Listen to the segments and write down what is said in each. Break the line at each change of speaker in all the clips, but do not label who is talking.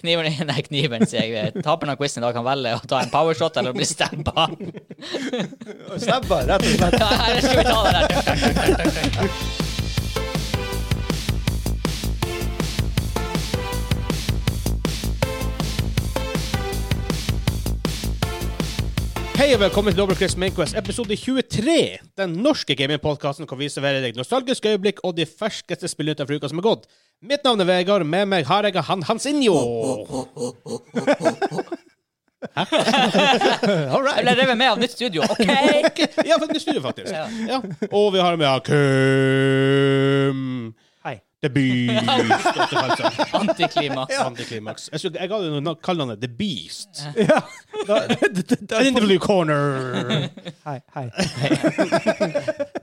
Kniven din er kniven, sier jeg. Eh, Taperen av quizen i dag kan velge å ta en powershot eller å bli stabba.
Stabba, rett og slett.
Ja, her skal vi ta det der.
Hei og velkommen til Dobbeltquiz Mainquest, episode 23. Den norske gamingpodkasten hvor vi serverer deg nostalgiske øyeblikk og de ferskeste spillene fra uka som er gått. Mitt navn er Vegard, med meg har jeg han Hansinjo. Hæ? All
Jeg
right.
ble revet med av nytt studio. OK!
Ja, for det snur faktisk.
Ja.
Ja. Og vi har med Kim
Hei.
The Beast.
Antiklima.
Antiklimaks. Jeg, skulle- jeg ga det noe kall han det The Beast.
Ja. Da,
In the blue corner.
hei, hei.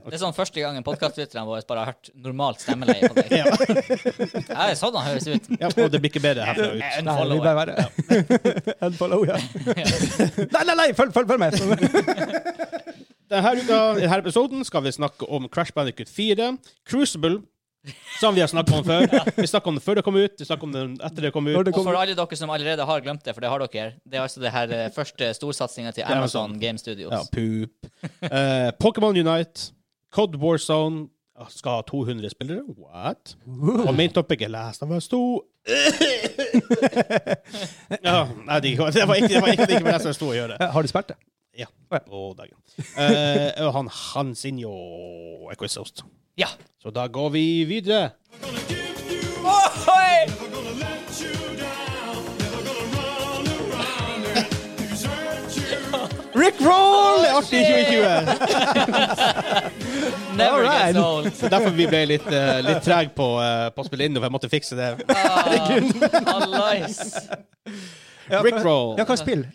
Det er sånn første gangen podkastlytterne våre bare har hørt normalt stemmeleie på deg.
Ja.
Ja, det er sånn han høres ut.
Ja, og det blir ikke bedre herfra ut.
Jeg
Nei, vi ble
unfollower.
verre. Unfollow, ja. Nei, nei, nei, følg, følg, følg med!
Denne uka, i denne episoden skal vi snakke om Crash Bandicoot 4, Crucible, som vi har snakket om før. Vi snakket om det før det kom ut, vi snakket om det etter det kom ut.
Når det
Og for
kommer
alle dere som allerede har glemt det, for det har dere, det er altså det her eh, første storsatsinga til Amazon Game Studios.
Ja, poop. Eh, Pokémon Unite, Cod Warzone skal ha 200 spillere. What? Og main topic er Last of Us 2. ja, nei, det det var ikke det, var ikke, det var Last of Us 2 å gjøre.
Eh, Har du spilt det?
Ja.
Ja.
På dagen. Eh, og han Hansinho er quiz-host.
Ja.
Så da går vi videre.
Ohoi!
Rick Roll er artig i 2020!
Never
Alright.
gets old.
Så derfor vi ble litt, uh, litt treg på, eh, på å spille inn, og jeg måtte fikse det.
Hallais.
Ja,
Rick Roll.
Ja, hva spill?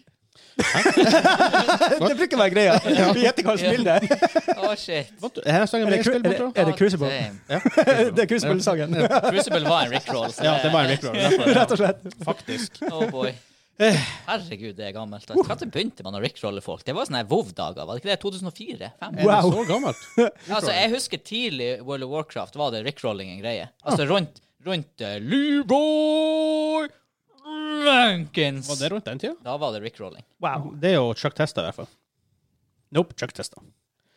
det bruker å være greia. Du gjetter hva spill det er.
Å, shit.
Måtte- Her sang jeg
Er
med
det, cru-
Excel,
er det,
bortå.
er det Crucible?
Damn.
Det er Crucible-sangen,
Crucible var en rickroll. så
Ja, det var en Rick Roll.
derfor-
rett og slett.
Faktisk.
Oh boy.
Eh.
Herregud, det er gammelt. Altså. Når begynte man å rickrolle folk? Det var sånne her WoW-dager, var det ikke det? 2004? Fem?
Er det
Wow.
så gammelt?
Altså, jeg husker tidlig World of Warcraft var det rickrolling en greie.
Ah.
Altså rundt, rundt eh, Leroy Rankins.
Var det rundt den tida?
Da var det rickrolling.
Wow.
Det er jo Chuck Testa, i hvert fall. Nope, Chuck Testa.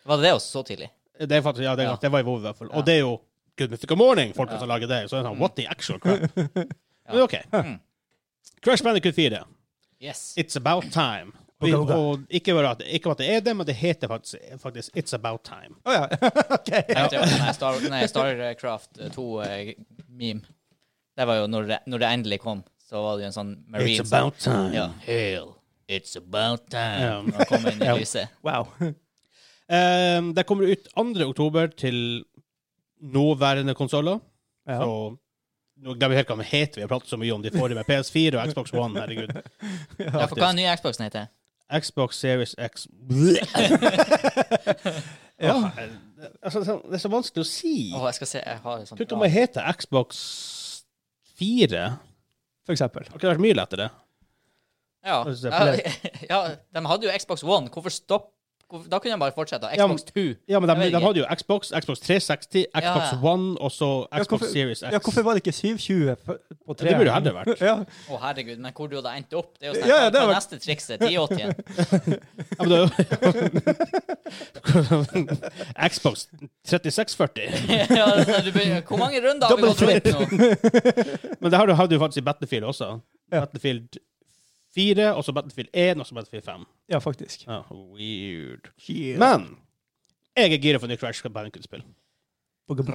Var det det også så tidlig?
Det, er faktisk, ja, det, er-
Ja.
det var i WoW, i hvert fall. Og det er jo Good Mythical Morning, folka som lager det. Så det er sånn, what the actual crap? Men OK.
Hmm.
Crash Bandicoot 4.
Yes.
It's About Time. Vi,
Oga, oga.
og ikke bare, at, ikke bare at det er det, men det heter faktisk, faktisk It's About Time.
Å ja. OK.
Jeg tenkte på den sånn her Star, nei, Starcraft eh, 2-meme. det var jo når det, når det endelig kom, så var det jo en sånn marine
It's about time.
Ja. Hail, it's about
Ja.
time. Når han kom inn i lyset.
Wow.
Ehm, det kommer ut 2. oktober til nåværende konsoller.
Ja.
Så nå glemmer jeg helt hva de heter. Vi har pratet så mye om de forrige med PS4 og Xbox One. Herregud.
Ja, for hva er den nye Xboxen heter?
Xbox Series X Åh, altså, det er så vanskelig å si.
Åh, jeg skal se, jeg har en sånn
Tenk om jeg heter Xbox 4.
For eksempel.
Har ikke vært mye lettere.
Ja.
Hva skal
Ja,
jeg
ja, de hadde jo Xbox One. Hvorfor stopp? Hvorfor, da kunne de bare fortsette.
Ja, men-
Xbox 2.
Ja, men de,
Jeg vet
de
ikke.
hadde jo Xbox, Xbox 360, Xbox
Ja.
One og så
Ja,
Xbox Series X.
ja, hvorfor var det ikke 720 på på
det
tre?
burde det heller vært.
Ja.
Å, herregud, men hvor du hadde endt opp? Det er jo sånn,
Ja, ja,
hva
det
er
var-
neste trikset? 1080-en?
Ja, men da- Xbox 3640.
ja, det- du begynner- hvor mange runder har vi
Double
gått rundt nå?
Men det har du- hadde du faktisk i Battlefield også. Battlefield 4, og så Battlefield 1, og så Battlefield 5.
ja, faktisk.
Ja, weird.
Men
Men jeg er gira for ny Crash Bandicoot-spill.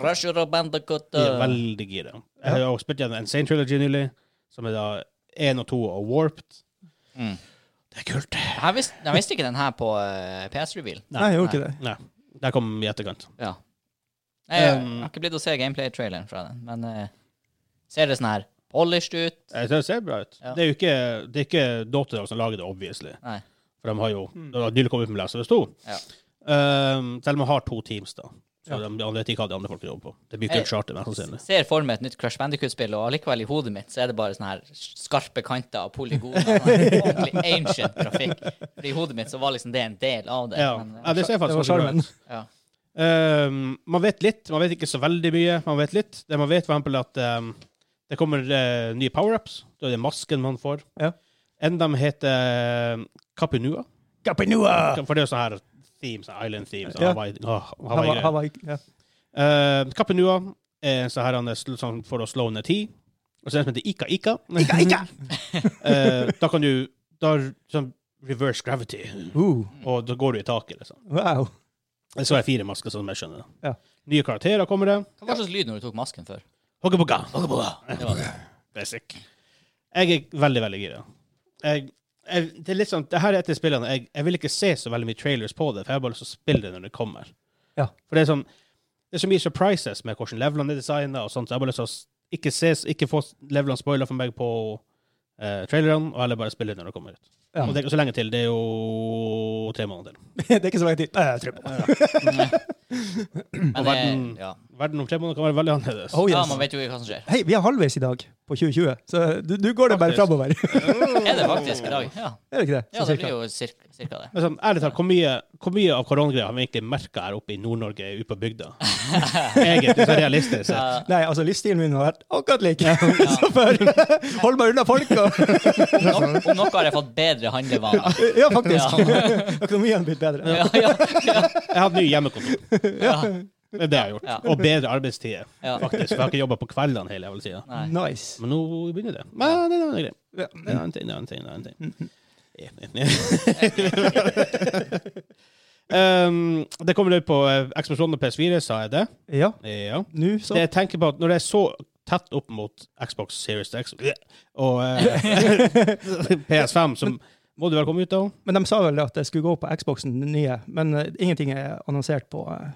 Pressure og Bandicoot.
Jeg er veldig gira. Jeg har jo spilt gjennom Insane Trilogy nylig, som er da 1 og 2 og Warped.
Mm.
Det er kult.
Jeg visste, jeg visste ikke den her på eh, PS-reveal.
Nei, jeg gjorde ikke det.
Nei, det kom i etterkant.
Ja. Jeg, jeg
Um,
har ikke blitt å se gameplay-traileren fra den, men eh, ser det sånn her polished ut?
Jeg synes det ser bra ut.
Ja.
Det er jo ikke, det er ikke Dotodog som lager det, obviously.
Nei.
For de har jo de har nylig kommet ut med Last of Us 2.
Ja.
Ehm, selv om de har to teams, da. Så
Ja.
de, de vet ikke hva de andre folk jobber på. Det blir
Jeg-
kun charter, mest sannsynlig.
Ser for meg et nytt Crush Bandicoot-spill, og allikevel i hodet mitt så er det bare sånne her skarpe kanter og polygoner. sånn her Ordentlig ancient grafikk. For i hodet mitt så var liksom det en del av det.
Ja.
Men,
ja, det ser
Det
faktisk
var
ganske bra
sjarmen.
ut.
ja.
Ehm, man vet litt, man vet ikke så veldig mye. Man vet litt. Det man vet, for eksempel at ehm, Det kommer eh, nye power-ups. Da er det masken man får.
Ja.
En av dem heter eh, Kapinua.
Kapinua!
For det er jo sånn her themes, island themes.
Ja.
Hawaii, åh, Hawaii,
Hawaii. Hawaii. Ja.
Eh, Kapinua er en sånn her han er sl- sånn for å slå ned tid. Og så er det en som heter Ika Ika.
Ika, ika!
Eh, da kan du Da er sånn reverse gravity,
Uh,
og da går du i taket, liksom.
wow.
Det skal være fire masker, sånn jeg skjønner det.
Ja.
Nye karakterer kommer det.
Hva slags lyd når du tok masken før?
Hoggebuga.
Det var det.
Basic. Jeg er veldig, veldig gira. Jeg, jeg, det er litt sånn, det her er et av spillene jeg, jeg vil ikke se så veldig mye trailers på det, for jeg har bare lyst til å spille det når det kommer.
Ja.
For det er sånn det er så mye surprises med hvordan levelene er designa, og sånt, så jeg har bare lyst til å s- ikke, se, ikke få levelene spoila for meg på eh, trailerne, og heller bare spille det når det kommer ut.
Ja.
Og det er ikke så lenge til. Det er jo tre måneder til.
det er ikke så lang tid. Nei, jeg tror på det.
Men
Mm. verden-
det, ja.
Verden om tre måneder kan være veldig annerledes.
Oh,
ja,
yes.
man vet jo ikke hva som skjer.
Hei, vi er halvveis i dag på 2020, så du, du går det bare
Faktisk.
framover. er
Er det faktisk i dag? Ja,
det ikke det?
ja
Sånn
det
cirka.
blir jo cirka, cirka det.
Men sånn, ærlig talt, hvor mye, hvor mye av koronagreia har vi egentlig merka her oppe i Nord-Norge, ute på bygda? Egentlig, så realistisk sett.
Ja,
Nei, altså livsstilen min har vært akkurat lik som før. Hold meg unna folk og
om no- om noe har jeg fått bedre handlevaner.
Ja, faktisk. Økonomien har blitt bedre.
Ja, ja,
Jeg har hatt ny hjemmekontor.
ja.
Det er det jeg har gjort.
Ja.
Og bedre arbeidstider,
Ja.
faktisk. For jeg har ikke jobba på kveldene hele jævla tida.
Nei.
Nice.
Men nå begynner det. Men det er en annen greie.
Ja.
Det er en annen ting, det er en ting, det er en ting. Ja, ja, ja. um, det kommer ut på eh, Xbox One og PS4, sa jeg det.
Ja,
Ja.
nå så.
Det jeg tenker på at når det er så tett opp mot Xbox Series X og eh, PS5, så må du vel komme ut da?
Men de sa vel at det skulle gå på Xboxen, den nye, men eh, ingenting er annonsert på eh,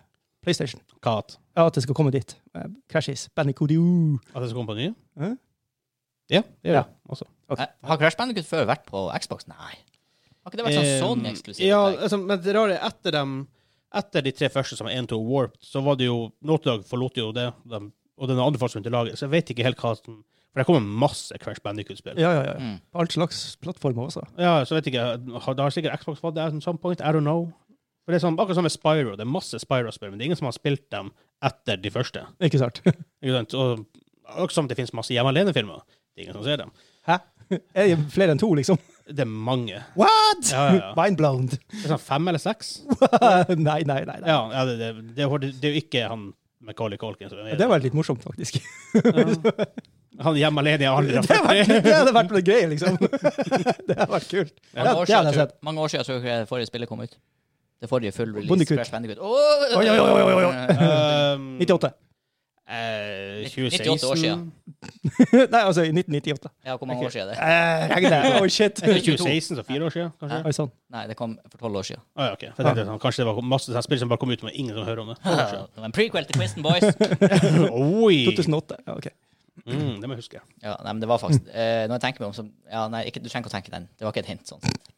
PlayStation.
Kat.
Ja, at det skal komme dit. Eh, Crashes. Bandicoodoo.
At det skal komme på den nye?
Hæ?
Ja, det gjør
Ja.
det. altså. Også.
Eh, Har Crash Bandicoot før vært på Xbox? Nei. Har ikke det vært sånn
Eh,
Sony-eksklusivt?
Ja,
opplegg?
altså, men det rare er etter dem etter de tre første som var 1, 2 Warped, så var det jo Naughty Dog forlot jo det, dem, og den andre forsvant i laget, så jeg vet ikke helt hva som For det kommer masse Crash Bandicoot-spill.
Ja, ja, ja.
Mm.
På alt slags plattformer også.
Ja, så vet jeg ikke. Har, da har sikkert Xbox fått det at some point. I don't know. For det er sånn, akkurat som med Spyro. Det er masse Spyro-spill, men det er ingen som har spilt dem etter de første.
Ikke sant?
Ikke sant? Og akkurat som det finnes masse hjemme alene-filmer. Det er ingen som ser dem.
Hæ? Er det flere enn to, liksom?
Det er mange.
What?!
Ja, ja, ja.
Mind blown.
Det er sånn fem eller seks.
nei, nei, nei. nei.
Ja, ja det, det, det, det er jo ikke han Macaulay Culkin som er
Det var litt morsomt, faktisk.
Ja. Han hjemme alene er aldri
Det, var,
rapportert.
det hadde vært noe greie, liksom. Det hadde vært kult.
Mange
Ja,
år siden,
det hadde jeg
tror,
sett.
mange år siden tror jeg det forrige spillet kom ut. Det forrige full release.
Bandicoot.
Crash Bandicoot. Åh! øh,
Oi, oi, oi, oi, oi.
Um,
98.
eh,
98 år siden.
2016.
Nei, altså i 1998.
Ja, hvor mange år siden er det?
Eh, Regne. Oh, shit.
Jeg tror-
2016, så fire år siden, kanskje?
Oi sånn. sann.
Nei, det kom for tolv år siden.
Ah, ja, ok. For jeg tenkte sånn, kanskje det var masse sånne spill som bare kom ut, men ingen som hører om det.
Det var en prequel til Quizen Boys.
Oi!
2008. Ja, OK.
Mm, det må jeg huske.
Ja, nei, men det var faktisk eh, Når jeg tenker meg om, så Ja, nei, ikke, du trenger ikke å tenke den. Det var ikke et hint, sånn sett.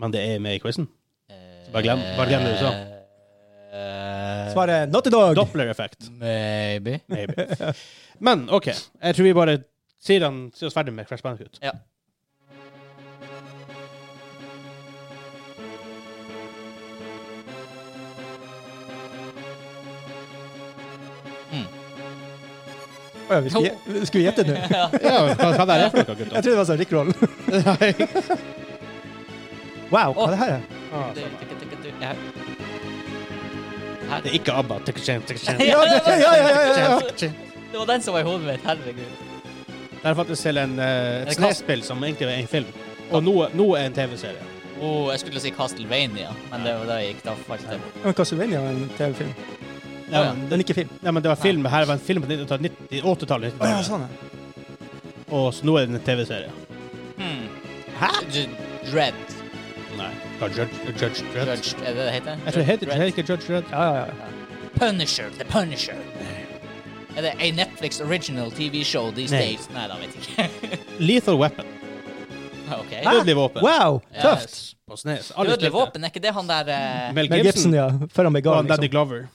Men det er med i quizen.
Eh,
Bare glem- bare glem det du sa.
eh,
Svaret er Naughty Dog.
Doppler-effekt.
Maybe.
Maybe. Men OK, jeg tror vi bare sier, han, sier oss ferdig med Crash Bandicoot.
Ja.
Å ja, vi skulle gje- skulle vi gjette nå?
Ja, hva, hva det er for noe,
Jeg
gutter?
trodde det var sånn Rickroll. Wow, hva er det her er?
Ah,
Du,
samme.
du, du, du, du, ja. Her.
det er ikke ABBA. Tikk, tjen, tikk, tjen,
Ja, det, ja, ja, ja, ja, ja.
tikk, tjen.
Det var den som var i hodet mitt. Herregud.
Det er faktisk til en, eh,
det
et snespill som egentlig er en film, og nå, nå er en TV-serie.
Oh, jeg skulle si Castlevania, men det var da jeg gikk da falt det.
Men Castlevania er en TV-film.
Ja,
Ja.
men
Den
det-
er ikke film.
Nei, men det var film. Her var en film på 80-tallet.
Å ja,
90-tallet,
sånn ja.
Og så nå er det en TV-serie.
Hmm.
Hæ?
J- Dread.
Nei. hva, Judge, Judge Dredd?
Judge, er det det heter?
Jeg tror det heter
Dread.
heter ikke Judge Dredd.
Ja, ja, ja.
Punisher, The Punisher. Er det a Netflix original TV show these
Nei.
days? Nei, da vet jeg ikke.
Lethal Weapon.
ok.
Hæ?
Dødelig våpen.
Wow, tøft.
Yes.
På snes. Aldri
Dødelig
spilt det.
våpen, er ikke det han der eh,
Mel
Med Gibson, ja. Før han ble
og
gal,
Danny
liksom.
Glover.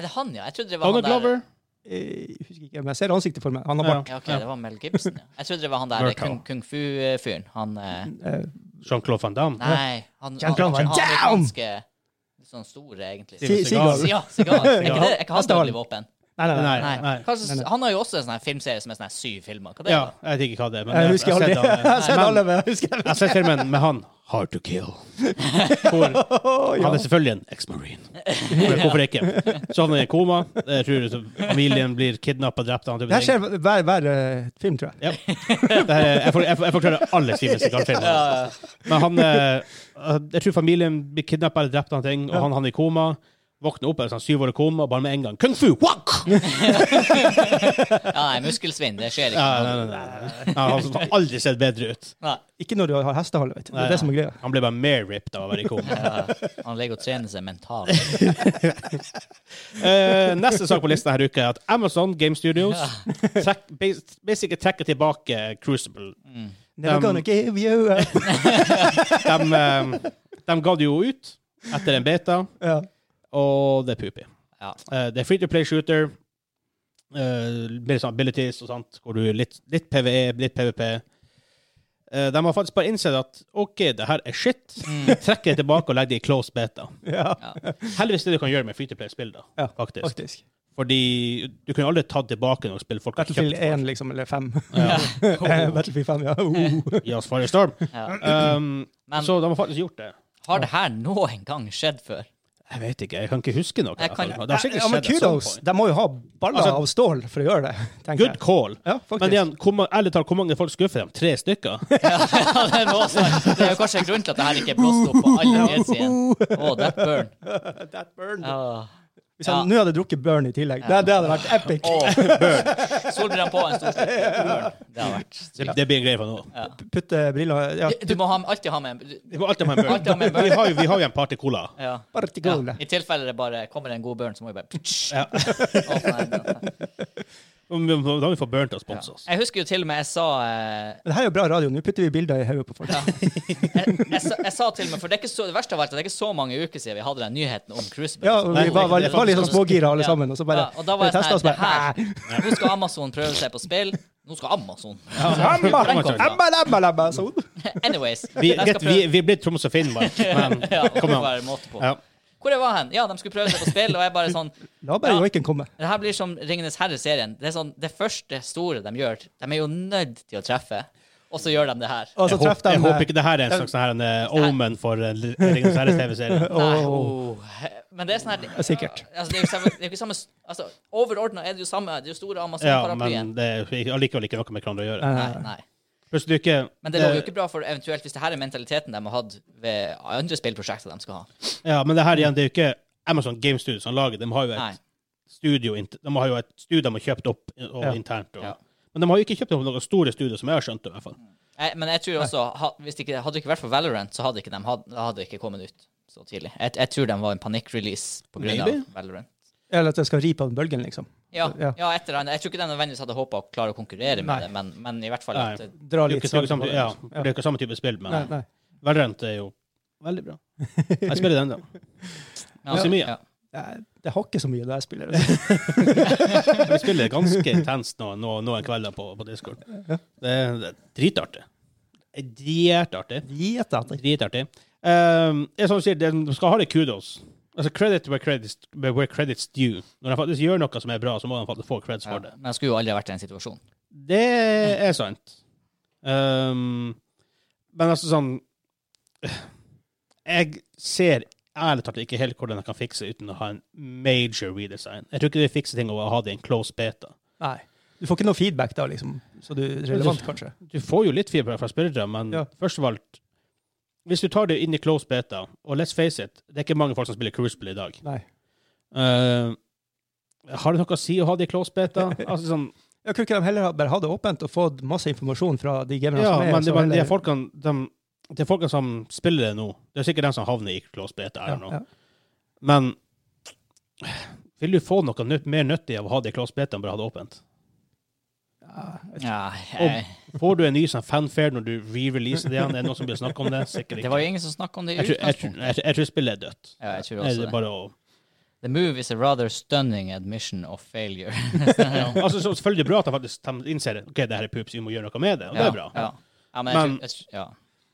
Er det han, ja? Jeg trodde det var
Mm. Donald
han der
Glover.
Eh, Jeg husker ikke, men jeg ser ansiktet for meg. Han har
Ja.
bart.
Ja, ok, det var Mel Gibson. Ja. Jeg trodde det var han der eh,
Murtaugh.
kung, kung fu-fyren. Han eh,
Eh,
Jean-Claude Van Damme.
Nei, han, han,
Jean Claude
han,
Van Damme!
amerikanske Sånn store, egentlig.
Si-
Steven Seagal.
Seagal.
Ja, sigar. Er ikke det- er ikke han
Hestehalen.
dødelig våpen?
Nei, nei, nei.
Nei.
Nei. Hva slags-
Nei, nei.
Han har jo også en sånn her filmserie som er sånn her syv filmer. Hva det
Ja,
er det?
jeg vet ikke hva det er. men
Jeg husker
har
aldri.
sett
Jeg har sett
Men-
alle, men jeg husker
Jeg har sett filmen med han Hard to Kill. Hvor han er selvfølgelig en ex-marine. Men Hvorfor ikke? Så han er i koma. Jeg tror så familien blir kidnappa og drept. og han type
Det her
ting.
skjer hver, hver eh, film, tror jeg.
Ja. Det her er- Jeg, får- jeg, får- jeg forklarer alle Steven Seagal-filmer. Men han eh, Jeg tror familien blir kidnappa eller drept, og, noe, og han havner i koma. Våkner opp etter sånn syv år i koma, bare med en gang Kung fu! Wak!
Ja, nei, muskelsvinn. Det skjer ikke.
Ja, nei, nei, nei, nei. Ja, han har aldri sett bedre ut.
Nei.
Ikke når du har hestehale, vet du. Det
Nei,
er det som er greia.
Han ble bare mer ripped av å være i koma.
Han ligger og trener seg mentalt.
Eh, neste sak på lista her uka er at Amazon Game Studios trekk, bas- basically trekker tilbake Crucible.
Never
Um,
gonna give you up.
De, eh, de ga det jo ut etter en beta,
Ja.
og det er poopy.
Ja.
Eh, det er free to play shooter. eh, Mer sånn abilities og sånt, hvor du er litt, litt PVE, litt PVP. Eh, de har faktisk bare innsett at OK, det her er shit.
Mm.
Trekker det tilbake og legger det i close beta.
ja,
Heldigvis det du kan gjøre med free to play-spill, da.
Ja,
faktisk.
faktisk.
Fordi du kunne aldri tatt tilbake noe spill folk har
Battlefield
kjøpt. for.
1, liksom, eller 5.
Ja.
Battlefield 5, ja. Oh.
Yes, Firestorm.
Ja.
Um,
Men-
så de har faktisk gjort det.
Har det her noen gang skjedd før?
Jeg vet ikke, jeg kan ikke huske noe.
Jeg kan-
i hvert fall. det har sikkert
Ja, men
skjedd at some
kudos!
point.
De må jo ha baller
Altså-
av stål for å gjøre det, tenker
Good
jeg.
call.
Ja, faktisk.
Men igjen, hvor, ma- ærlig talt, hvor mange folk skuffer dem? Tre stykker?
Ja, det, er også, det er jo kanskje en grunn til at det her ikke er blåst opp på alle DLC igjen. Oh, that burn.
That burn.
Ja.
Hvis jeg nå hadde drukket burn i tillegg, det, det hadde vært epic.
Åh, Solbrillene på en stor stykke. Det har vært
Det, det blir en greie for nå.
Putte briller ja,
Du må ha, alltid ha med en
Vi må alltid ha en
Alltid ha med en
burn.
burn.
Vi har jo, vi har jo en party cola.
ja. ja.
partikler.
I tilfelle det bare kommer en god burn, så må vi bare
Ja.
Åpne den.
Og vi- Da må vi få burn til å sponse oss.
Jeg husker jo til og med jeg sa eh,
Men Det her er jo bra radio. Nå putter vi bilder i hodet på folk.
Ja. Jeg, jeg, sa- jeg sa til meg, for det, er ikke så, det verste av alt er at det er ikke så mange uker siden vi hadde den nyheten om Crucible.
Ja, og vi var, var, var litt sånn smågira alle
Ja.
sammen, og så bare
Ja, og da var jeg
testet
sånn
oss
her,
bare
det her, Nå skal Amazon prøve seg på spill. Nå skal Amazon.
Amma,
Amazon.
amma, amma, amma, sånn.
Anyways.
Vi,
jeg skal
get, vi,
prøve-
vi blir Troms og Finnmark, men
ja, og
kom
det
igjen.
var en måte på.
Ja.
Hvor jeg var hen? Ja, de skulle prøve seg på spill, og jeg bare sånn
La bare
Ja.
joiken komme.
Det her blir som Ringenes herre-serien. Det er sånn, det første store de gjør, de er jo nødt til å treffe, og så gjør de det her.
Og
Jeg,
så
håper,
traff de
jeg håper
eh,
ikke det her er en slags sånn her, en, eh, omen for eh, Ringenes herre-TV-serie.
Nei, oh. Men det er sånn her
Sikkert.
Altså, det er jo samme, det er jo ikke samme altså, Overordna er det jo samme. Det er jo store
Ja,
Amazon-paraplyen.
men det er ikke- allikevel ikke noe med hverandre å gjøre.
Nei,
eh,
nei.
Pluss du ikke
Men det lover
eh,
jo ikke bra for eventuelt hvis det her er mentaliteten de har hatt ved andre spillprosjekter de skal ha.
Ja, men det her igjen, det er jo ikke Amazon Game Studios som lager. De har jo et
Nei.
studio int- De har jo et studio de har kjøpt opp eh, og
Ja.
internt. Og,
Ja.
Men de har jo ikke kjøpt opp noen store studio, som jeg har skjønt det, i hvert fall.
Jeg, Eh, men jeg tror også ha, hvis det ikke, Hadde det ikke vært for Valorant, så hadde ikke de had, da hadde det ikke kommet ut så tidlig. Jeg, jeg tror de var en panikkrelease på grunn av
Maybe.
Valorant.
Eller at jeg skal ri på den bølgen, liksom.
Ja,
Ja.
ja. et eller annet. Jeg tror ikke de nødvendigvis hadde håpa å klare å konkurrere med
Nei.
det, men, men i hvert fall
Nei.
at det-
Dra
Det er jo ikke, det er jo
litt
ikke
svelg på
samme,
den.
ja, det er jo ikke samme type spill,
Nei,
men
nei.
Valorant er jo veldig bra. Jeg spiller den, da.
ja,
Ikke mye.
Ja.
Nei, Det har ikke så mye der jeg spiller. altså.
Vi spiller ganske intenst nå, nå, noen kvelder på, på Discord. Det er, det er dritartig. Det er Dritartig.
Gjett at det-
Dritartig. Um, det er som du sier, de skal ha litt kudos. Altså credit where credits, where credits due. Når de faktisk gjør noe som er bra, så må de faktisk få creds for det.
Ja. Men jeg skulle jo aldri vært i den situasjonen.
Det er sant. Um, men altså sånn Jeg ser ærlig talt ikke helt hvordan jeg kan fikse det uten å ha en major redesign. Jeg tror ikke de fikser ting over å ha det i en close beta.
Nei. Du får ikke noe feedback da, liksom. Så du er relevant, kanskje.
Du får jo litt feedback fra spillere, men
Ja.
først av alt Hvis du tar det inn i close beta, og let's face it, det er ikke mange folk som spiller Crucible i dag.
Nei.
Uh, har det noe å si å ha det i close beta? Altså sånn
Jeg kunne ikke de heller ha- bare ha det åpent og fått masse informasjon fra de gamerne
Ja,
som er
men det,
så
er bare- de
heller-
folkene, de, de folkene som spiller det nå, det er sikkert de som havner i close beta. I
Ja,
don't know.
ja.
Men vil du få noe nytt, mer nyttig av å ha det i close beta enn bare å ha det åpent?
Ja, jeg,
Får du en ny sånn fanfare når du re-releaser det igjen? Er det noen som blir snakket om det? Sikkert
det var
ikke.
jo ingen som snakka om det i
Jeg tror, jeg, tror,
utgangspunktet.
jeg, tror- jeg tror spillet er dødt.
Ja, jeg tror
Er
også
det
det.
bare å...
The move is a rather stunning admission of failure.
ja. altså, så selvfølgelig er det bra at de faktisk de innser det. OK, det her er pups, vi må gjøre noe med det. Og det er bra.
Ja, ja. ja men, jeg
Men-
tror, jeg, tror- ja.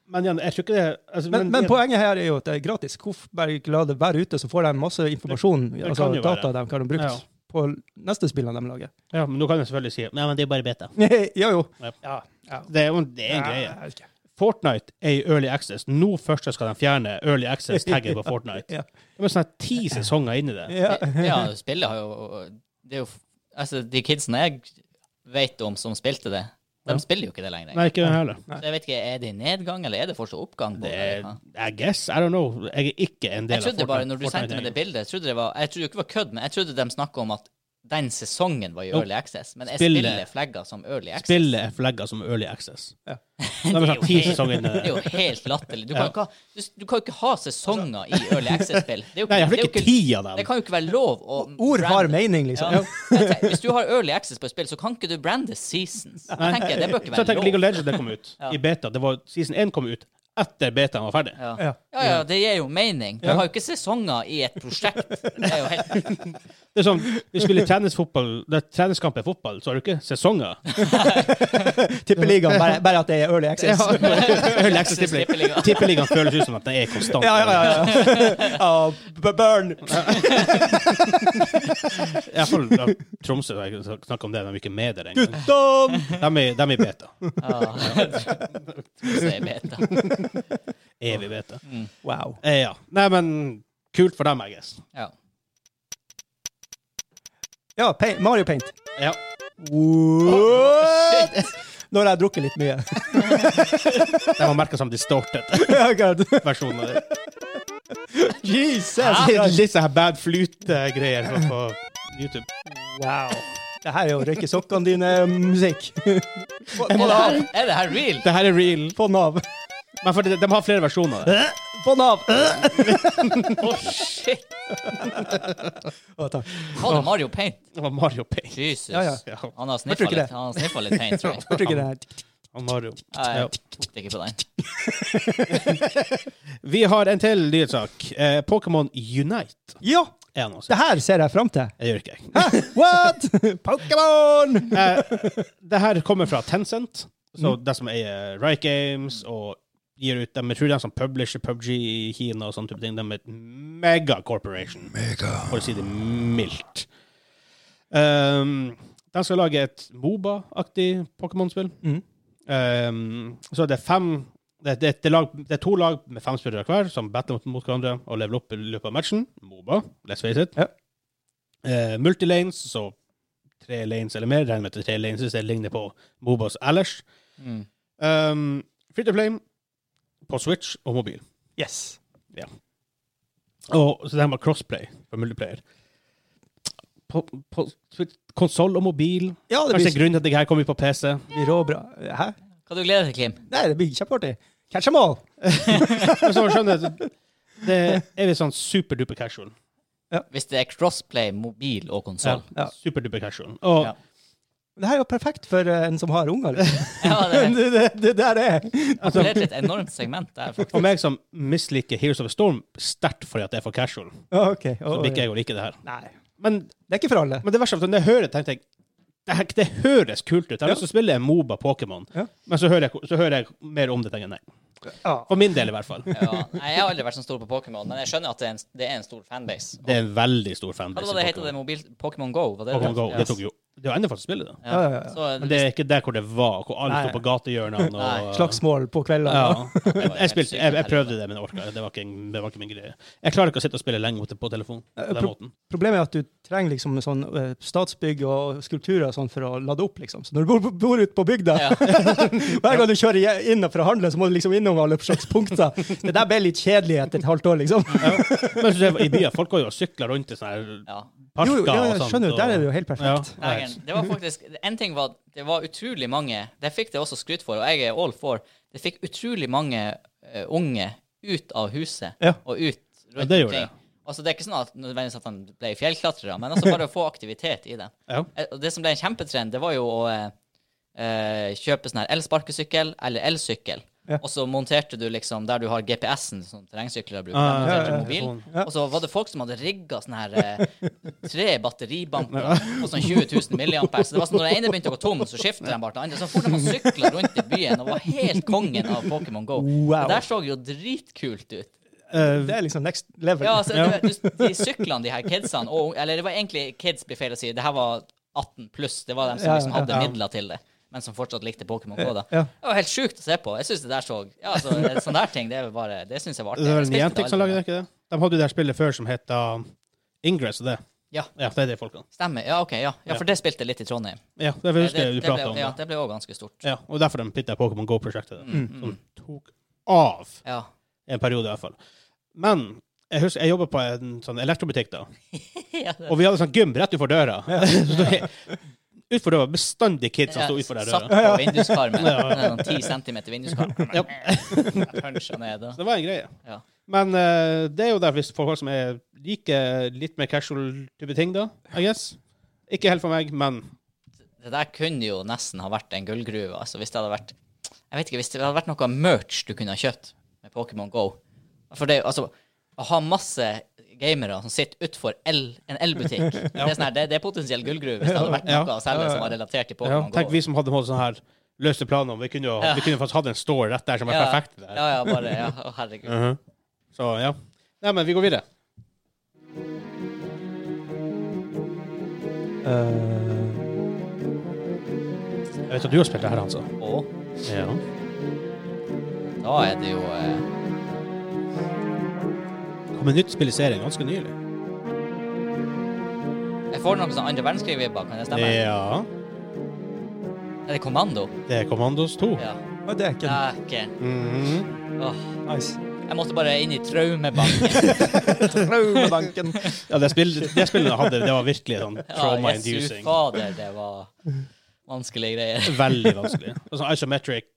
Men igjen, jeg tror ikke det altså,
Men, men poenget her er jo at det er gratis. Hvorfor bare ikke la det være ute, så får de masse informasjon,
det
altså
kan jo
data
være.
de kan ha brukt
Ja.
på neste spillene de lager.
Ja, men nå kan jeg selvfølgelig si Nei, men det er bare beta.
ja, jo.
Ja. Det er jo det er en greie. Fortnite er i Early Access. Nå først skal de fjerne Early Access-tagget på Fortnite.
Ja.
Det er sånn her ti sesonger inni det.
Ja.
Ja, spillet har jo Det er jo Altså, de kidsene jeg vet om som spilte det, de
Ja.
spiller jo ikke det lenger.
Nei, ikke den heller.
Så jeg vet ikke, er det i nedgang, eller er det fortsatt oppgang? på
Det
det?
er,
Ja.
I guess. I don't know. Jeg er ikke en del
Jeg
av
trodde
Fortnite.
bare, når du
Fortnite
sendte meg det
lenger.
bildet, jeg trodde det var, jeg trodde jo ikke det var kødd, men jeg trodde de snakket om at den sesongen var i
Jo.
Early Access, men jeg
Spillet.
spiller flagget som Early Access.
Spillet er flagga som Early Access.
Ja.
Da har
Det er
vi sånn
jo
ti
helt-
sesonger inni
Det er
det.
jo helt latterlig. Du
Ja.
kan, ikke, ha- du, du kan jo ikke ha sesonger i Early Access-spill. Det, er jo
Nei, jeg
det er
fikk
jo
ikke ti av
det
dem.
kan jo ikke være lov å
Ord har
brande-
mening, liksom.
Ja. Jeg tenker, Hvis du har Early Access på et spill, så kan ikke du brande seasons. Jeg tenker, det bør ikke
Så
være
jeg tenker League
lov.
of Legends det kom ut i beta. Det var, season 1 kom ut etter betaen var ferdig.
Ja.
Ja.
ja, ja, det gir jo mening. Du har jo ikke sesonger i et prosjekt. Det er jo helt
Det er sånn, Vi spiller treningsfotball, det er treningskamp er fotball, så har du ikke sesonger.
Tippeligaen, bare, bare at det er early access.
Early Access tippeliga. Tippeligaen føles ut som at den er konstant.
Ja, ja, ja. ja. Ja, b- burn!
I hvert fall ja, Tromsø, jeg snakker om det, de er ikke med der engang.
Guttene!
De er, de er i beta.
ja. Så jeg vet det.
Evig beta.
Wow.
Eh, ja. Nei, men kult for dem, I guess.
Ja.
Ja, paint, Mario Paint.
Ja.
What? Nå har jeg drukket litt mye.
De har merka som distorted
Ja, God.
versjon av det.
Jesus!
Litt- Litt sånn her bad flute-greier på- på YouTube.
Wow. Det her er jo røyke sokkene dine-musikk. Få
Er,
den
det her,
av!
er det her real?
Det her er real.
Få den av!
Men for de, de har flere versjoner. av det.
Få den av!
Å, shit!
Å, takk.
Var det Mario Paint?
Det var Mario Paint.
Jesus.
Ja, ja.
Ja,
Han har
Jeg
sniffa
tror ikke
litt,
det.
han har sniffet litt paint, tror jeg.
Jeg tror ikke det er
og Mario.
Nei,
Ja.
Jeg tok ikke på den.
Vi har en til nyhetssak. Eh, Pokémon Unite
Ja!
er annonsen.
Det her ser jeg fram til.
Det gjør ikke jeg.
Hæ? What?! Pokémon!
Eh, det her kommer fra Tencent, så
Mm.
det som eier Riot Games og gir ut dem. Jeg tror de som sånn publisher PubG i Kina og sånne type ting, de er et mega corporation. For å si det mildt. Um, de skal lage et Moba-aktig Pokémon-spill.
Mm.
Um, så det er fem det, det, det, er lag, det er to lag med fem spillere hver som battler mot, mot hverandre og leveler opp i løpet av matchen. Moba, let's face it.
Ja.
Eh, multilanes, så tre lanes eller mer. Regner med at det er tre lanes hvis det ligner på Mobas ellers.
Mm.
Um, free to play på Switch og mobil.
Yes.
Og så det her med crossplay for multiplayer. På, på Switch- konsoll og mobil
Ja,
Kanskje
det
det er
blir,
grunnen til at det her kommer på PC.
blir råbra. Hæ?
Hva du gleder deg til, Klim?
Nei, det blir kjempeartig. Catch them all!
Men så skjønner jeg at det er litt sånn superduper casual.
Hvis det er crossplay, mobil og konsoll.
Ja.
Superduper casual. Og
Ja.
Det her er jo perfekt for eh, en som har unger. liksom.
Ja, det er
Det, det, det der er
Altså-
appellert til et enormt segment der, faktisk.
for meg som misliker Heroes of the Storm sterkt fordi at det er for casual,
Ja, OK.
så
Å,
blir ikke
ja.
jeg å like det her.
Nei.
Men,
Det er ikke for alle.
men det verste er at når jeg hører det, tenkte jeg det, her, det høres kult ut. Jeg har lyst til å spille en Moba Pokémon,
Ja.
men så hører, jeg, så hører jeg mer om det. tenker jeg, nei.
Ja.
For min del, i hvert fall.
Ja. Nei, jeg har aldri vært så stor på Pokémon, men jeg skjønner at det er en, det er en stor fanbase.
Det er en veldig stor
Hva
fanbase.
var det
i
det het det?
Pokémon.
Mobil Pokémon Go? Var det
Pokémon Go.
Ja.
Det tok jo Det er jo enda for å spille det.
Ja.
Ja, ja, ja.
Så
Men det er ikke der hvor det var, hvor alle
Nei.
sto på gatehjørnene og
Slagsmål på kveldene.
Ja.
var
Jeg,
helt
jeg, spilte,
sykt
jeg, jeg
helvete.
prøvde det, men orka. Det var, ikke, en- det var ikke min greie. Jeg klarer ikke å sitte og spille lenge mot det på telefon. På den
pro-
måten.
Problemet er at du trenger liksom sånn eh, statsbygg og skulpturer og sånn for å lade opp, liksom. Så når du bor, bor ute på bygda,
Ja.
hver gang du kjører je- inn for å handle, så må du liksom innom alle slags punkter. Det der ble litt kjedelig etter et halvt år, liksom.
Men så, ser jeg- I byer folk går jo og sykler rundt i sånne her
ja.
parker
Jo, jo, ja,
og
jeg
sånt.
skjønner du.
og-
Der er det jo helt perfekt.
Ja, jeg-
Dagen. Det var faktisk En ting var at det var utrolig mange Det fikk det også skryt for, og jeg er all for. Det fikk utrolig mange eh, unge ut av huset
Ja.
og ut rundt
Ja, det gjorde
omkring.
det.
Altså, det er ikke sånn at nødvendigvis at de ble fjellklatrere, men altså bare å få aktivitet i det.
ja.
Eh, og Det som ble en kjempetrend, det var jo å eh, eh, kjøpe sånn her elsparkesykkel eller elsykkel.
Ja.
Og så monterte du liksom der du har GPS-en som terrengsyklere bruker.
Ah,
der monterte
ja, ja, ja.
du mobilen.
Ja.
Og så var det folk som hadde rigga sånne her eh, tre batteribanker på sånn 20 000 milliampere. Så det var sånn, når den ene begynte å gå tom, så skiftet de bare til den andre. Så fort de sykla rundt i byen og var helt kongen av Pokémon Go.
Wow.
Det der så jo dritkult ut.
Eh,
Det er liksom next level.
Ja, altså, du, du, de syklene, de her kidsene og, Eller det var egentlig kids blir feil å si. Det her var 18 pluss. Det var dem som
Ja,
liksom hadde
ja.
midler til det, men som fortsatt likte Pokémon Go. da.
Ja.
Det var helt sjukt å se på. Jeg synes det der så Ja, altså, sånne der ting, det er vel bare Det syns jeg var artig.
det
Jeg
var en
spilte
jenting
aldri,
som lagde det, ikke det? De hadde jo det her spillet før som het uh, Ingress og det.
men- Ja,
Ja, det er det folk kan.
stemmer. Ja, ok, ja. ja for det spilte jeg litt i Trondheim.
Ja, det
Det,
husker jeg
det
du
ble,
pratet om.
ja,
det.
det ble òg ganske stort.
Ja, og derfor de pittet Pokémon Go-prosjektet.
Mm.
Som tok av
Ja.
en periode, i hvert fall. Men jeg husker, jeg jobba på en sånn elektrobutikk, da.
ja det,
Og vi hadde sånn gym rett utenfor døra. Utfor døra bestandig kids som sto utfor der
satt
døra.
på vinduskarmen.
Ja.
Sånn 10 centimeter vinduskarm.
Ja,
Punsja ned. og-
så det var en greie.
Ja.
Men eh, det er jo der hvis for folk som er liker litt mer casual type ting, da, I guess. Ikke helt for meg, men
Det der kunne jo nesten ha vært en gullgruve. Altså, hvis det hadde vært Jeg vet ikke, hvis det hadde vært noe merch du kunne ha kjøpt med Pokémon Go For det, altså, å ha masse gamere som sitter utfor el, en elbutikk det, er sånn her, det, det er potensiell gullgruve hvis det hadde vært
Ja.
noe å selge som var relatert til
ja,
Pokémon
tenk
Go.
vi som hadde holdt sånne her løse planer. Vi kunne jo vi kunne faktisk hatt en store rett der som er
Ja,
perfekt. til det her.
ja, ja, bare, ja, å, herregud.
Så ja. Nei, men vi går videre.
Eh.
Jeg vet at du har spilt det her, altså. Hansa.
Og
Ja.
da er det jo eh,
Kom med nytt spill i serien ganske nylig.
Jeg får noen sånn andre verdenskrig-vibber, kan det stemme?
Ja.
Er det Kommando?
Det er Commandos 2.
Ja.
Og det er ikke
Dæken.
Mhm.
Åh,
nice.
Jeg måtte bare inn i traumebanken.
Traumebanken.
Ja, det, spill, det spillet jeg hadde, det var virkelig sånn
Jesu
trauma-inducing.
fader, det var vanskelige greier.
Veldig vanskelig. Og sånn isometric,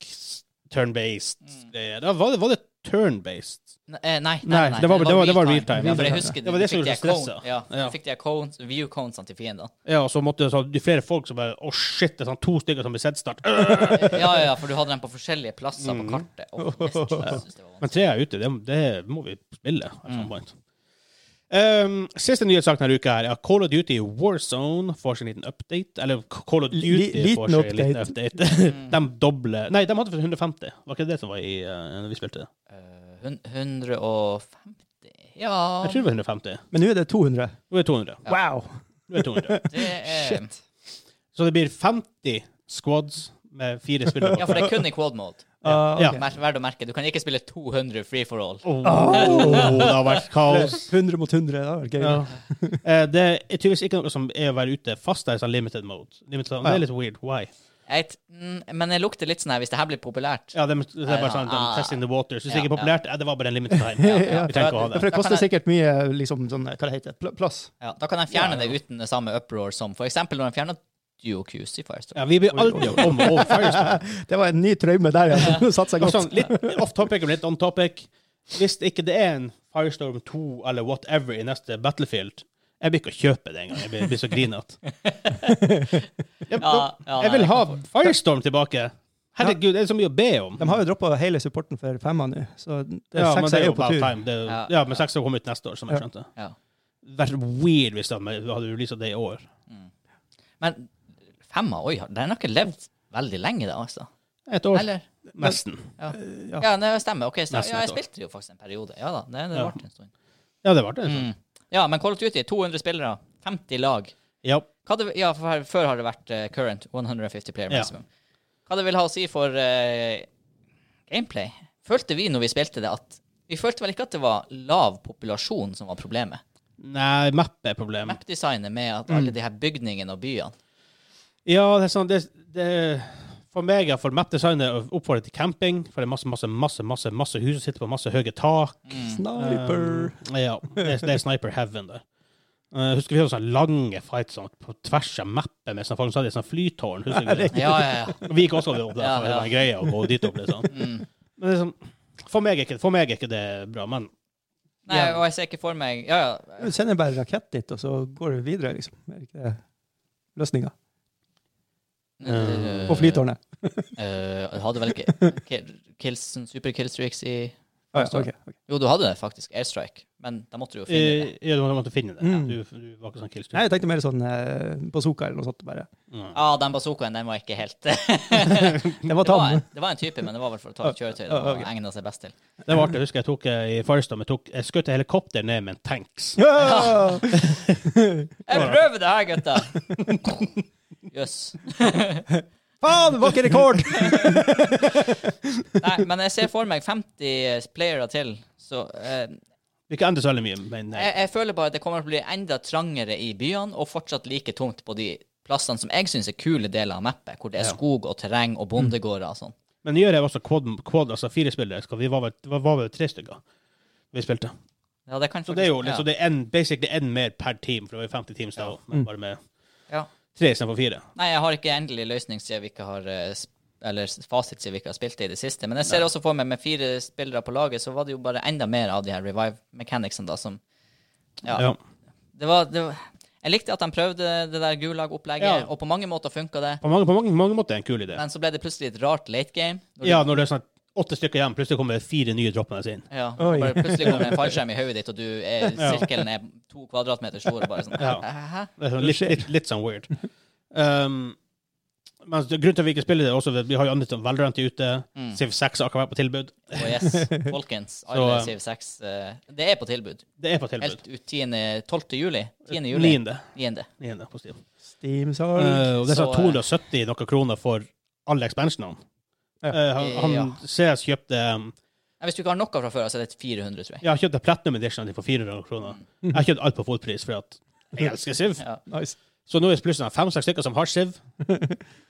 turn-based greier. Da var det, var det turn-based?
Ne- eh, Nei,
Nei,
nei, nei,
det var- det var- det var real time.
Ja, for jeg husker
Det
du
var det som
fikk de her
gjorde meg stressa.
cone- Ja,
Ja.
du fikk de her cones, view conesene til fiendene.
Ja, og så måtte det sånn, det er flere folk som bare Å, shit, det er sånn to stykker som blir sett snart.
Ja, ja, ja, for du hadde dem på forskjellige plasser
Mm.
på kartet. Åh, Jesus, det var vanskelig.
Men tre er ute, det, det må vi spille. Um, siste nyhetssak denne uka her er at Call of Duty Warzone får sin liten update. Eller Call of Duty
Li- liten
får sin liten update. de dobler Nei, de hadde for 150. Var ikke det som var i uh, når vi spilte? det?
Eh, hun- 150 Ja,
Jeg tror det var 150.
Men nå er det 200.
Nå er det 200.
Wow.
Nå er det 200.
det er
Shit.
Så det blir 50 squads med fire spillere.
Ja, for det er kun i quad mode.
Ah,
Ja.
ok.
Mer- Verdt å merke. Du kan ikke spille 200 free for all.
Åh, det har vært kaos.
100 Oh! mot 100, det hadde vært gøy.
Ja. Eh, det er tydeligvis ikke noe som er å være ute fast der i sånn limited mode. Limited, Det er litt weird. Why?
Jeg, t- mm, men jeg lukter litt sånn her, hvis det her blir populært
Ja, det, er- det er bare sånn de
Ah.
testing the water. Syns
Ja,
det ikke er populært? Ja, det var bare en limited time. Vi trenger ikke å ha
Ja,
det.
For det
Da kan
koster
jeg-
sikkert mye liksom, sånn, hva det heter, pl- plass.
ja, Da kan de fjerne det uten det samme uproar som for eksempel når de fjerna Duo Qs i Firestone.
Ja, vi blir aldri å komme over Firestone.
Det var en ny traume der, ja. Nå satser jeg
Og
godt.
Sånn, litt off topic og litt on topic. Hvis det ikke det er en Firestorm 2 eller whatever i neste Battlefield jeg blir ikke å kjøpe det engang. Jeg blir, blir så grinete. Jeg,
Ja, ja,
jeg vil
nei,
ha Firestorm tilbake! Herregud, det er så mye å be om.
De har jo droppa hele supporten for femma nå, så det er
Ja, men
seks
det er jo
på
about
tur.
time. Det er, jo-
Ja.
ja, men seks har kommet ut neste år, som jeg
Ja.
skjønte.
Ja.
Vært weird hvis de hadde releasa det i år.
Men femma, oi, den har ikke levd veldig lenge, da, altså.
Et år.
Eller?
Nesten.
Ja, det stemmer. Ok, så,
Eh, Nesten
ja,
et
jeg
år.
spilte jo faktisk en periode. Ja da, det, det
Ja.
varte en stund.
Ja, det var det. altså.
Mm. Ja, men Call of Duty, 200 spillere, 50 lag.
Ja.
Hva det, ja, for her, før har det vært eh, current 150 player
Ja.
maximum. Hva det vil ha å si for eh, gameplay? Følte vi når vi spilte det at Vi følte vel ikke at det var lav populasjon som var problemet.
Nei, map er problemet.
Mapdesignet med at
Mm.
alle de her bygningene og byene
Ja, det er sånn det, det, For meg er for map-design å oppfordre til camping. For det er masse, masse, masse masse, masse hus som sitter på masse høye tak.
Mm.
Sniper.
Um, ja, det, er- det er sniper heaven der. Uh, husker vi hadde sånne lange fights sånn, på tvers av mappet med sånne folk som hadde sånne flytårn. Husker du det?
Ja, ja, ja.
Vi gikk også opp der,
Ja,
for det
ja.
var en greie å gå dit opp. Liksom.
Mm.
Men liksom, for, meg er ikke, for meg er ikke det bra, men
Nei, og jeg ser ikke for meg Ja, ja.
Du sender bare rakett dit, og så går du videre, liksom. Er ikke det løsninga?
Eh,
På flytårnet.
Eh, hadde vel ikke Kills, Superkillstreaks i
Ah, ja, ok, ok.
Jo, du hadde faktisk airstrike, men da måtte du jo finne det.
Eh, Ja, du måtte- måtte finne det. Ja.
Mm.
Du, du var ikke sånn killstreak.
Nei, jeg tenkte mer sånn eh, bazooka eller noe sånt. bare.
Mm.
Ja, den bazookaen, den var ikke helt det,
Den var
var
tam.
en, det var en type, men det var vel for å ta et kjøretøy det var egnet seg best til.
Det var artig. Jeg husker jeg tok eh, i Firestone, jeg, tok, jeg skjøt et helikopter ned med en tanks.
Ja!
Jeg prøver det her, gutta! Jøss.
Faen, var ikke rekord!
Nei, men jeg ser for meg 50 playere til, så eh,
Det ikke endre så veldig mye, men eh,
jeg, jeg føler bare at det kommer til å bli enda trangere i byene, og fortsatt like tungt på de plassene som jeg syns er kule deler av mappet, hvor det er
Ja. Mm.
skog og terreng og bondegårder og sånn.
Men nyere er også quad, quad altså fire spillere. Skal Vi var vel, var, var vel tre stykker vi spilte.
Ja, det kan
Så det er jo
faktisk-
liksom, det er en, basically en mer per team, for det var jo 50 teams da òg,
Mm.
men bare med
ja. ja.
tre istedenfor fire.
Nei, jeg har ikke endelig løsning siden vi ikke har eh, sp- eller s- fasit siden vi ikke har spilt det i det siste. Men jeg ser også for meg med fire spillere på laget, så var det jo bare enda mer av de her revive mechanicsene da, som Ja.
Ja.
Det, var, det var Jeg likte at de prøvde det der gulag-opplegget,
Ja.
og på mange måter funka det.
På, mange, på mange, mange måter er det en kul idé.
Men så ble det plutselig et rart late game. når du-
Ja, når det er sånn at åtte stykker igjen, plutselig kommer det fire nye droppende inn.
Ja,
Oi.
bare plutselig kommer det en fallskjerm i hodet ditt, og du er,
Ja.
sirkelen er to kvadratmeter stor. og Bare sånn,
Ja.
hæ, hæ?
Det er sånn litt, litt, litt sånn weird. Um, men grunnen til at vi ikke spiller det, er også at vi har jo andre som Valorant er ute,
Mm.
Civ 6 har akkurat vært på tilbud.
Og yes, folkens, alle
Så, eh,
Civ 6 eh, Det er på tilbud.
Det er på tilbud.
Helt ut 10. 12. juli. 10. juli.
Niende.
9.
Niende på Steam.
Steam-salg.
Eh, og det er
Så,
sånn
eh,
270 noen kroner for alle expansionene.
Ja.
Eh, han han
Ja.
CS kjøpte um,
Nei, Hvis du ikke har noe fra før, så er det 400, tror jeg.
Jeg har kjøpt en Platinum Edition for 400 kroner. Jeg har kjøpt alt på fullpris, for at jeg elsker Siv.
Ja.
Nice.
Så nå er det plutselig sånn fem-seks stykker som har Siv.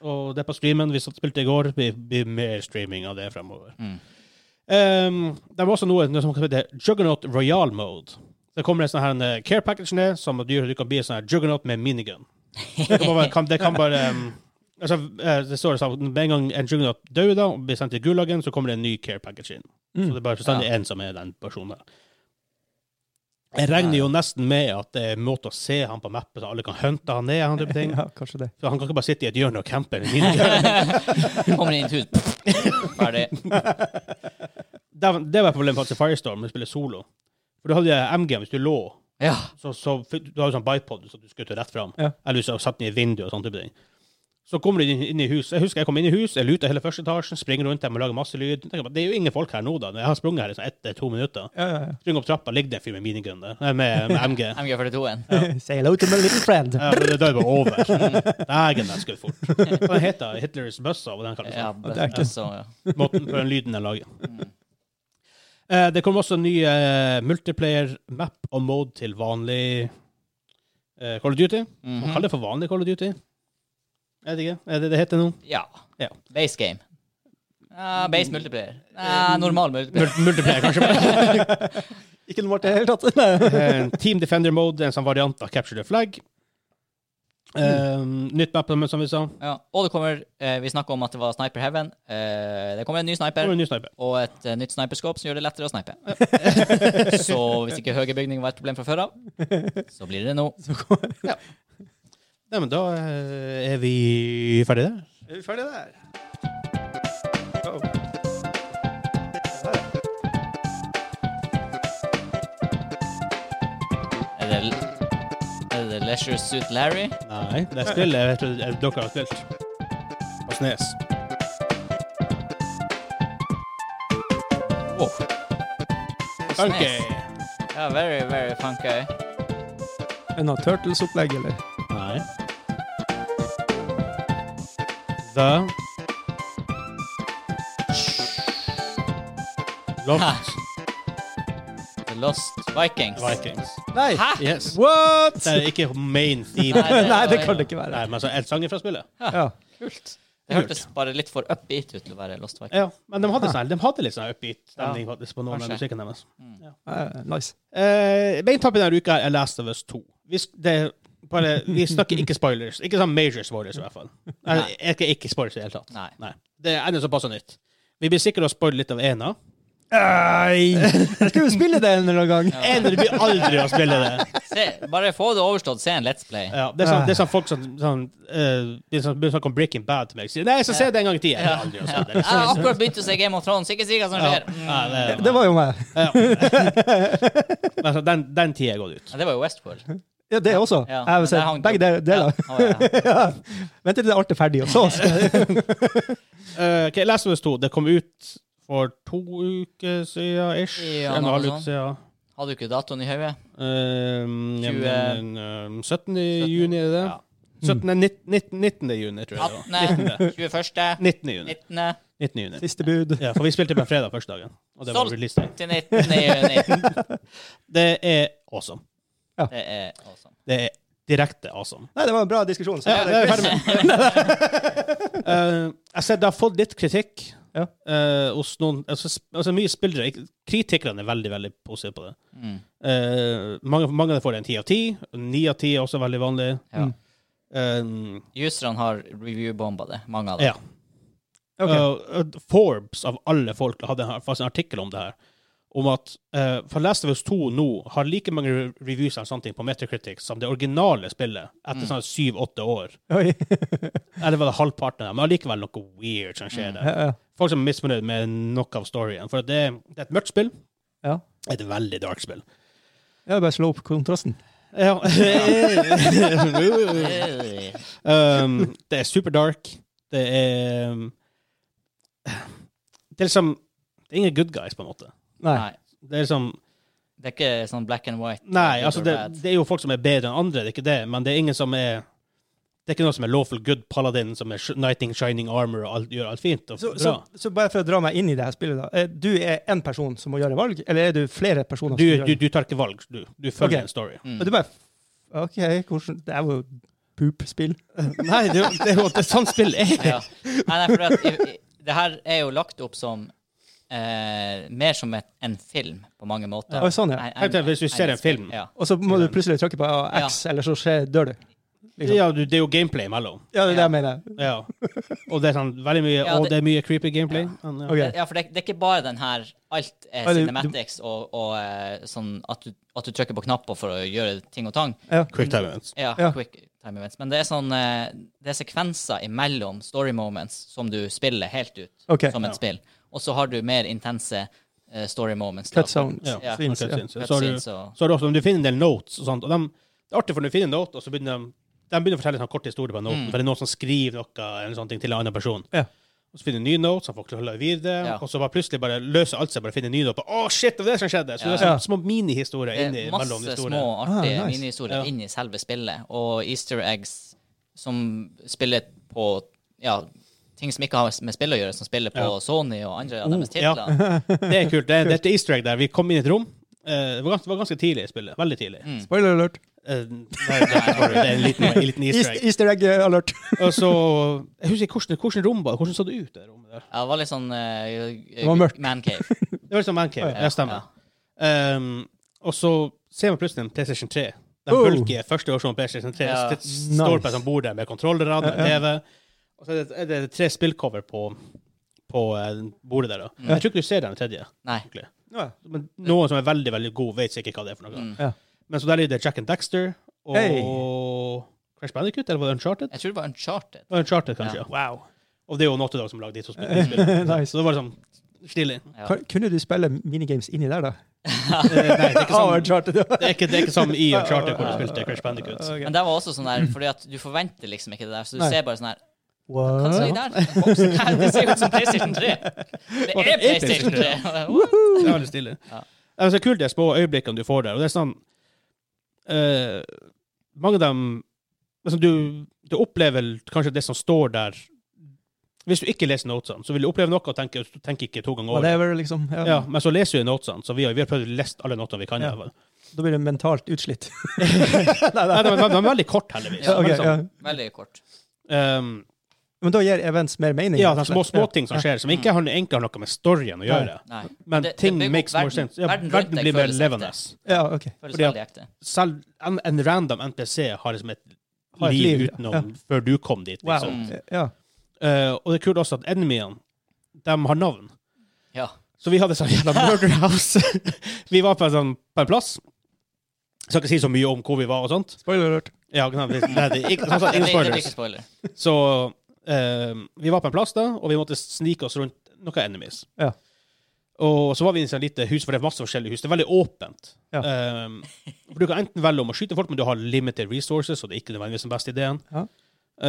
og det er på streamen. Vi satt og spilte i går. Det blir- blir mer streaming av det fremover.
Mm.
Um, det var også noe, noe som heter Juggernaut Royal Mode. Det kommer en sånn her en, eh, care package ned, som du, du kan bli en sånn her juggernaut med minigun. Det kan bare, kan, det kan bare um, altså, eh, Det står sånn at med en gang en juggernaut dør da, og blir sendt til Gulagen, så kommer det en ny care package inn.
Mm.
Så det er bare bestandig
Ja.
én som er den personen der. Jeg regner jo nesten med at det er en måte å se han på mappet, så alle kan hunte han ned. Han, type ting.
Ja, kanskje det.
Så han kan ikke bare sitte i et hjørne og campe. en minigun.
Kommer inn i et hus, ferdig.
Det, det var problemet faktisk i Firestorm, når du spiller solo. For du hadde jo MG hvis du lå
Ja.
så, så fikk- du har jo sånn bipod, så du skutter rett fram.
Ja.
Eller du satt ned i vinduet og sånn type ting. Så kommer du inn, inn i hus. Jeg husker jeg kom inn i hus, jeg luta hele første etasjen, springer rundt dem og lager masse lyd. Jeg Tenker, bare, det er jo ingen folk her nå, da. Jeg har sprunget her i sånn ett til to minutter.
Ja, ja, ja.
Springer opp trappa, ligger det en fyr med minigun der, eh, med, med MG.
MG42-en.
Say hello to my little friend.
Ja, men det dør bare over. Dægen, den skjøt fort. Hva heter den? Hitlers bøssa? Hva den kalles?
Ja,
det er ikke-
altså, ja. Mm.
Måten på den lyden den lager. Eh, det kommer også en ny eh, multiplayer map og mode til vanlig eh, Call of Duty.
Mhm.
Man kaller det for vanlig Call of Duty. Jeg vet ikke. Er det det heter nå?
Mm-hmm. ja.
Ja. Mm.
Base game. Ja, base multiplayer. Nei, normal multiplayer.
Mul- Multiplayer, kanskje. bare.
Ikke noe artig i det hele tatt. Nei.
Eh, Team Defender Mode, en sånn variant av Capture the Flag. Eh, nytt map, men som vi sa.
Ja. Og det kommer eh, Vi snakka om at det var Sniper Heaven. Eh, det kommer en ny
Og
sniper.
en ny sniper.
Og et eh, nytt sniperskåp som gjør det lettere å snipe. Så hvis ikke høye bygninger var et problem fra før av, så blir det det nå.
Nei, men da eh, er vi ferdige der.
Er vi ferdige der?
Er det, er det Leisure Suit Larry?
Nei, det er spill jeg vet at dere har spilt. På Snes.
Wow.
Funky.
Ja, very, very funky.
En av Turtles-opplegg, eller?
Nei. The Lost
The Lost Vikings.
Vikings.
Nei!
Hæ?
Yes.
What?!
Det er ikke main theme.
Nei, det-
Nei, det kan det ikke
Nei,
være.
men altså, en sanger fra spillet.
Ja.
Kult. Det hørtes bare litt for upbeat ut til å være Lost Vikings.
Ja, men de hadde, sånn, de hadde litt sånn upbeat stemning
Ja.
faktisk på noen av
Kanskje.
musikken deres.
Eh, nice.
Uh, main topic denne uka er Last of Us 2. Vi, s- det, er bare, vi snakker ikke spoilers. Ikke sånn major spoilers, i hvert fall. Nei. Ikke, ikke spoilers i det hele tatt.
Nei.
Det er ennå såpass nytt. Vi blir sikkert å spoile litt av ena.
Nei! Jeg skulle jo spille det en eller annen gang.
Ener blir aldri å spille det.
Se, bare få det overstått, se en Let's Play.
Ja, det, er sånn, det er sånn folk som sånn, eh, de som begynner å snakke om Breaking Bad til meg. Sier, Nei, så ser jeg det en gang i tida. Jeg har aldri å se det.
Jeg har akkurat begynt å se Game of Thrones, ikke si hva som skjer. Mm.
Ja, det,
Det var jo meg.
men altså, den, den tida er gått ut.
Ja, det var jo Westworld.
Ja, det også.
Ja,
jeg har
men der
sett
hang
begge
det.
de- deler.
Ja, å, ja.
Ja. Vent til det er alt er ferdig, og så skal jeg
Uh, okay, Last of Us 2 det kom ut for to uker siden ish.
Ja,
en og en halv
noe
uke siden.
Hadde du ikke datoen i hodet?
Ehm, ja,
20.
men, ehm, 17. juni, er det? 17. 19, 19, 19. juni, tror jeg. det var.
18., 21.,
19. juni.
19.,
19. juni.
Siste bud.
Ja, for vi spilte på en fredag første dagen, og det
Sånn.
var
Stolt.
release day.
til 19. juni.
Det er awesome.
Det er awesome.
Det er direkte awesome.
Nei, det var en bra diskusjon. Så
Ja,
det er
det er
quiz.
Eh, jeg ser det har fått litt kritikk
Ja.
eh, hos noen altså, sp- altså Mye spillere ik- Kritikerne er veldig veldig positive på det.
Mm.
Eh, mange, mange får det en ti av ti. Ni av ti er også veldig vanlig.
Ja.
Eh,
Userne har review-bomba det, mange av dem.
ja. Eh, eh, Forbes, av alle folk, hadde en- faktisk en artikkel om det her. Om at eh, for Last of Us 2 nå har like mange re- reviews eller sånne ting på Metacritic som det originale spillet etter sånn syv-åtte år.
Oi.
Eller var det halvparten av dem? Men allikevel noe weird som skjer der.
Ja, ja.
Folk som er misfornøyd med noe av storyen. For det, det er et mørkt spill.
Ja.
Et veldig dark spill.
Jeg bare slå opp kontrasten.
Ja.
Eh,
um, det er super dark. Det er um, Det er liksom Det er ingen good guys, på en måte.
Nei.
Nei.
Det er liksom
Det er ikke sånn black and white.
Nei,
good
altså,
or
det,
bad.
det er jo folk som er bedre enn andre, det er ikke det, men det er ingen som er det er ikke noe som er lawful good paladin, som er sh- knighting shining armor og alt, gjør alt fint. Og
Så,
bra.
så, så bare for å dra meg inn i det her spillet, da. Eh, Du er én person som må gjøre valg, eller er du flere personer?
du,
som gjør
du, du tar ikke valg, du, du følger
Ok.
en story.
Mm.
Og du bare OK, hvordan Det er jo poop-spill.
Nei, det, er jo- det er jo det er sånn spill er.
ja. Nei, nei, for at, i- i- det her er jo lagt opp som eh, mer som et, en film på mange måter.
Oi, sånn, ja.
Nei, en-
Helt til hvis du ser en film.
Ja.
Og så må du plutselig trykke på ah, X, eller så skjer, dør du. Liksom.
Ja, du, det er jo gameplay imellom.
Ja, det er det
Ja.
jeg mener.
Ja. Og det er sånn veldig mye
Ja,
Og
det-
det er mye creepy gameplay. Men, ja.
Ok.
Ja, for det, det er ikke bare den her Alt er
Ja, du- du-
cinematics og, og eh, sånn at du, at du trykker på knapper for å gjøre ting og tang.
Ja.
Quick time events.
Ja,
Ja.
quick time events. Men det er sånn eh, Det er sekvenser imellom story moments som du spiller helt ut
Ok.
som et spill. Og så har du mer intense eh, story moments. da.
Cut sounds.
Ja.
Ja.
Scenes, ja.
cutscenes. Så har du,
Cutscenes og-
så har du også, om du finner en del notes og sånt, og dem- det er artig for når du finner en note, og så begynner de, de begynner å fortelle en sånn kort historie på
Mm.
noten, for det er noen som skriver noe eller sånne ting til en annen person.
Ja.
Og så finner du nye notes, han forklarer videre,
Ja.
og så bare plutselig bare løser alt seg, bare finner nye noter på, å shit, det var det som skjedde! Så det er
Ja.
sånn små minihistorier
Det
inni
er
mellom
masse små,
historiene.
artige
Ah, nice.
minihistorier
Ja.
inni selve spillet, og easter eggs som spiller på ja, ting som ikke har med spill å gjøre, som spiller på
Ja.
Sony og andre av
Oh,
deres
ja.
titler. Ja.
Det er kult. Det er, det er et easter egg der. Vi kom inn i et rom. Eh, det, var ganske, det var ganske tidlig i spillet. Veldig tidlig.
Mm.
Spoiler alert.
Eh, nei, nei, sorry, det er en liten, en liten easter egg.
Easter egg alert.
Og så Jeg husker ikke hvordan, hvordan rom var det. Hvordan så det ut, det rommet der?
det var litt sånn eh,
var mørkt.
man cave.
Det var liksom mancave. Ja, stemmer. Um, og så ser man plutselig en PlayStation 3. Den
Oh.
bulkige førsteårsjonen PlayStation 3
Ja.
st- står på et sånt bord der med kontrollere og TV. Og så er det, er det tre spillcover på, på eh, bordet der. da. Jeg tror ikke du ser den tredje.
Nei.
egentlig.
Ja.
Men noen som er veldig veldig god, vet sikkert hva det er. for noe.
Ja.
Men så der er det Jack and Dexter og
Hey.
Crash Bandicoot, eller var det Uncharted?
Jeg tror det var Uncharted.
Det var Uncharted, kanskje.
Ja.
Wow. Og det er jo Naughty Dog som lagde de to spillene. Så det var liksom stilig.
Ja.
Kan- Kunne du spille minigames inni der, da?
Eh, Nei, det er ikke
Ah,
sånn
Uncharted.
Det er ikke, det er ikke som i Charter hvor du spilte Crash Bandicoot.
Ok.
Men det var også sånn der, fordi at du forventer liksom ikke det der, så du
Nei.
ser bare sånn her Hva
What?
sier der? En boks? Nei, Det ser ut som PlayStation 3! Det er PlayStation 3!
Det er veldig stilig.
Ja.
Altså, det er kult de små øyeblikkene du får der. Og det er sånn eh, Mange av dem altså, du, du opplever kanskje det som står der Hvis du ikke leser notesene, så vil du oppleve noe og tenke, du tenker ikke to ganger over. det.
Whatever, liksom. Ja.
Ja, men så leser du notesene, så vi har, vi har prøvd å lese alle notene vi kan.
Ja.
i hvert fall.
Da blir du mentalt utslitt.
Nei, de, de, de er veldig korte, heldigvis.
Ja,
Ok,
Veldig
ja.
sånn,
Veldig kort.
ehm,
Men da gir events mer mening.
ja,
rett
de
og
små
slett.
småting som skjer, som ikke har, egentlig har noe med storyen å
Ja.
gjøre.
Nei.
Men
Det- det
ting
bygger opp
makes more
verden.
sense. Ja,
Verden
verden,
rundt deg
blir mer
føles
levende.
Ja, OK.
Føles
Fordi at-
veldig ekte.
Selv en, en random NPC har liksom et
Har et
liv,
liv, ja.
utenom
Ja.
før du kom dit.
Wow.
Liksom.
Ja.
Eh, og det er kult også at enemyene, de har navn.
Ja.
Så vi hadde sånn jævla murder house. vi var på en, sånn, på en plass. Skal ikke si så mye om hvor vi var og sånt.
Spoiler alert.
Ja, ikke sant? Vi- nei, det, er ikke, som sagt, ingen
Det blir- det blir
spoilers.
ikke spoiler.
Så eh, vi var på en plass da, og vi måtte snike oss rundt noen enemies.
Ja.
Og så var vi i et lite hus, for det er masse forskjellige hus. Det er veldig åpent.
Ja.
Eh, for du kan enten velge om å skyte folk, men du har limited resources, og det er ikke nødvendigvis den beste ideen.
Ja.
Eh,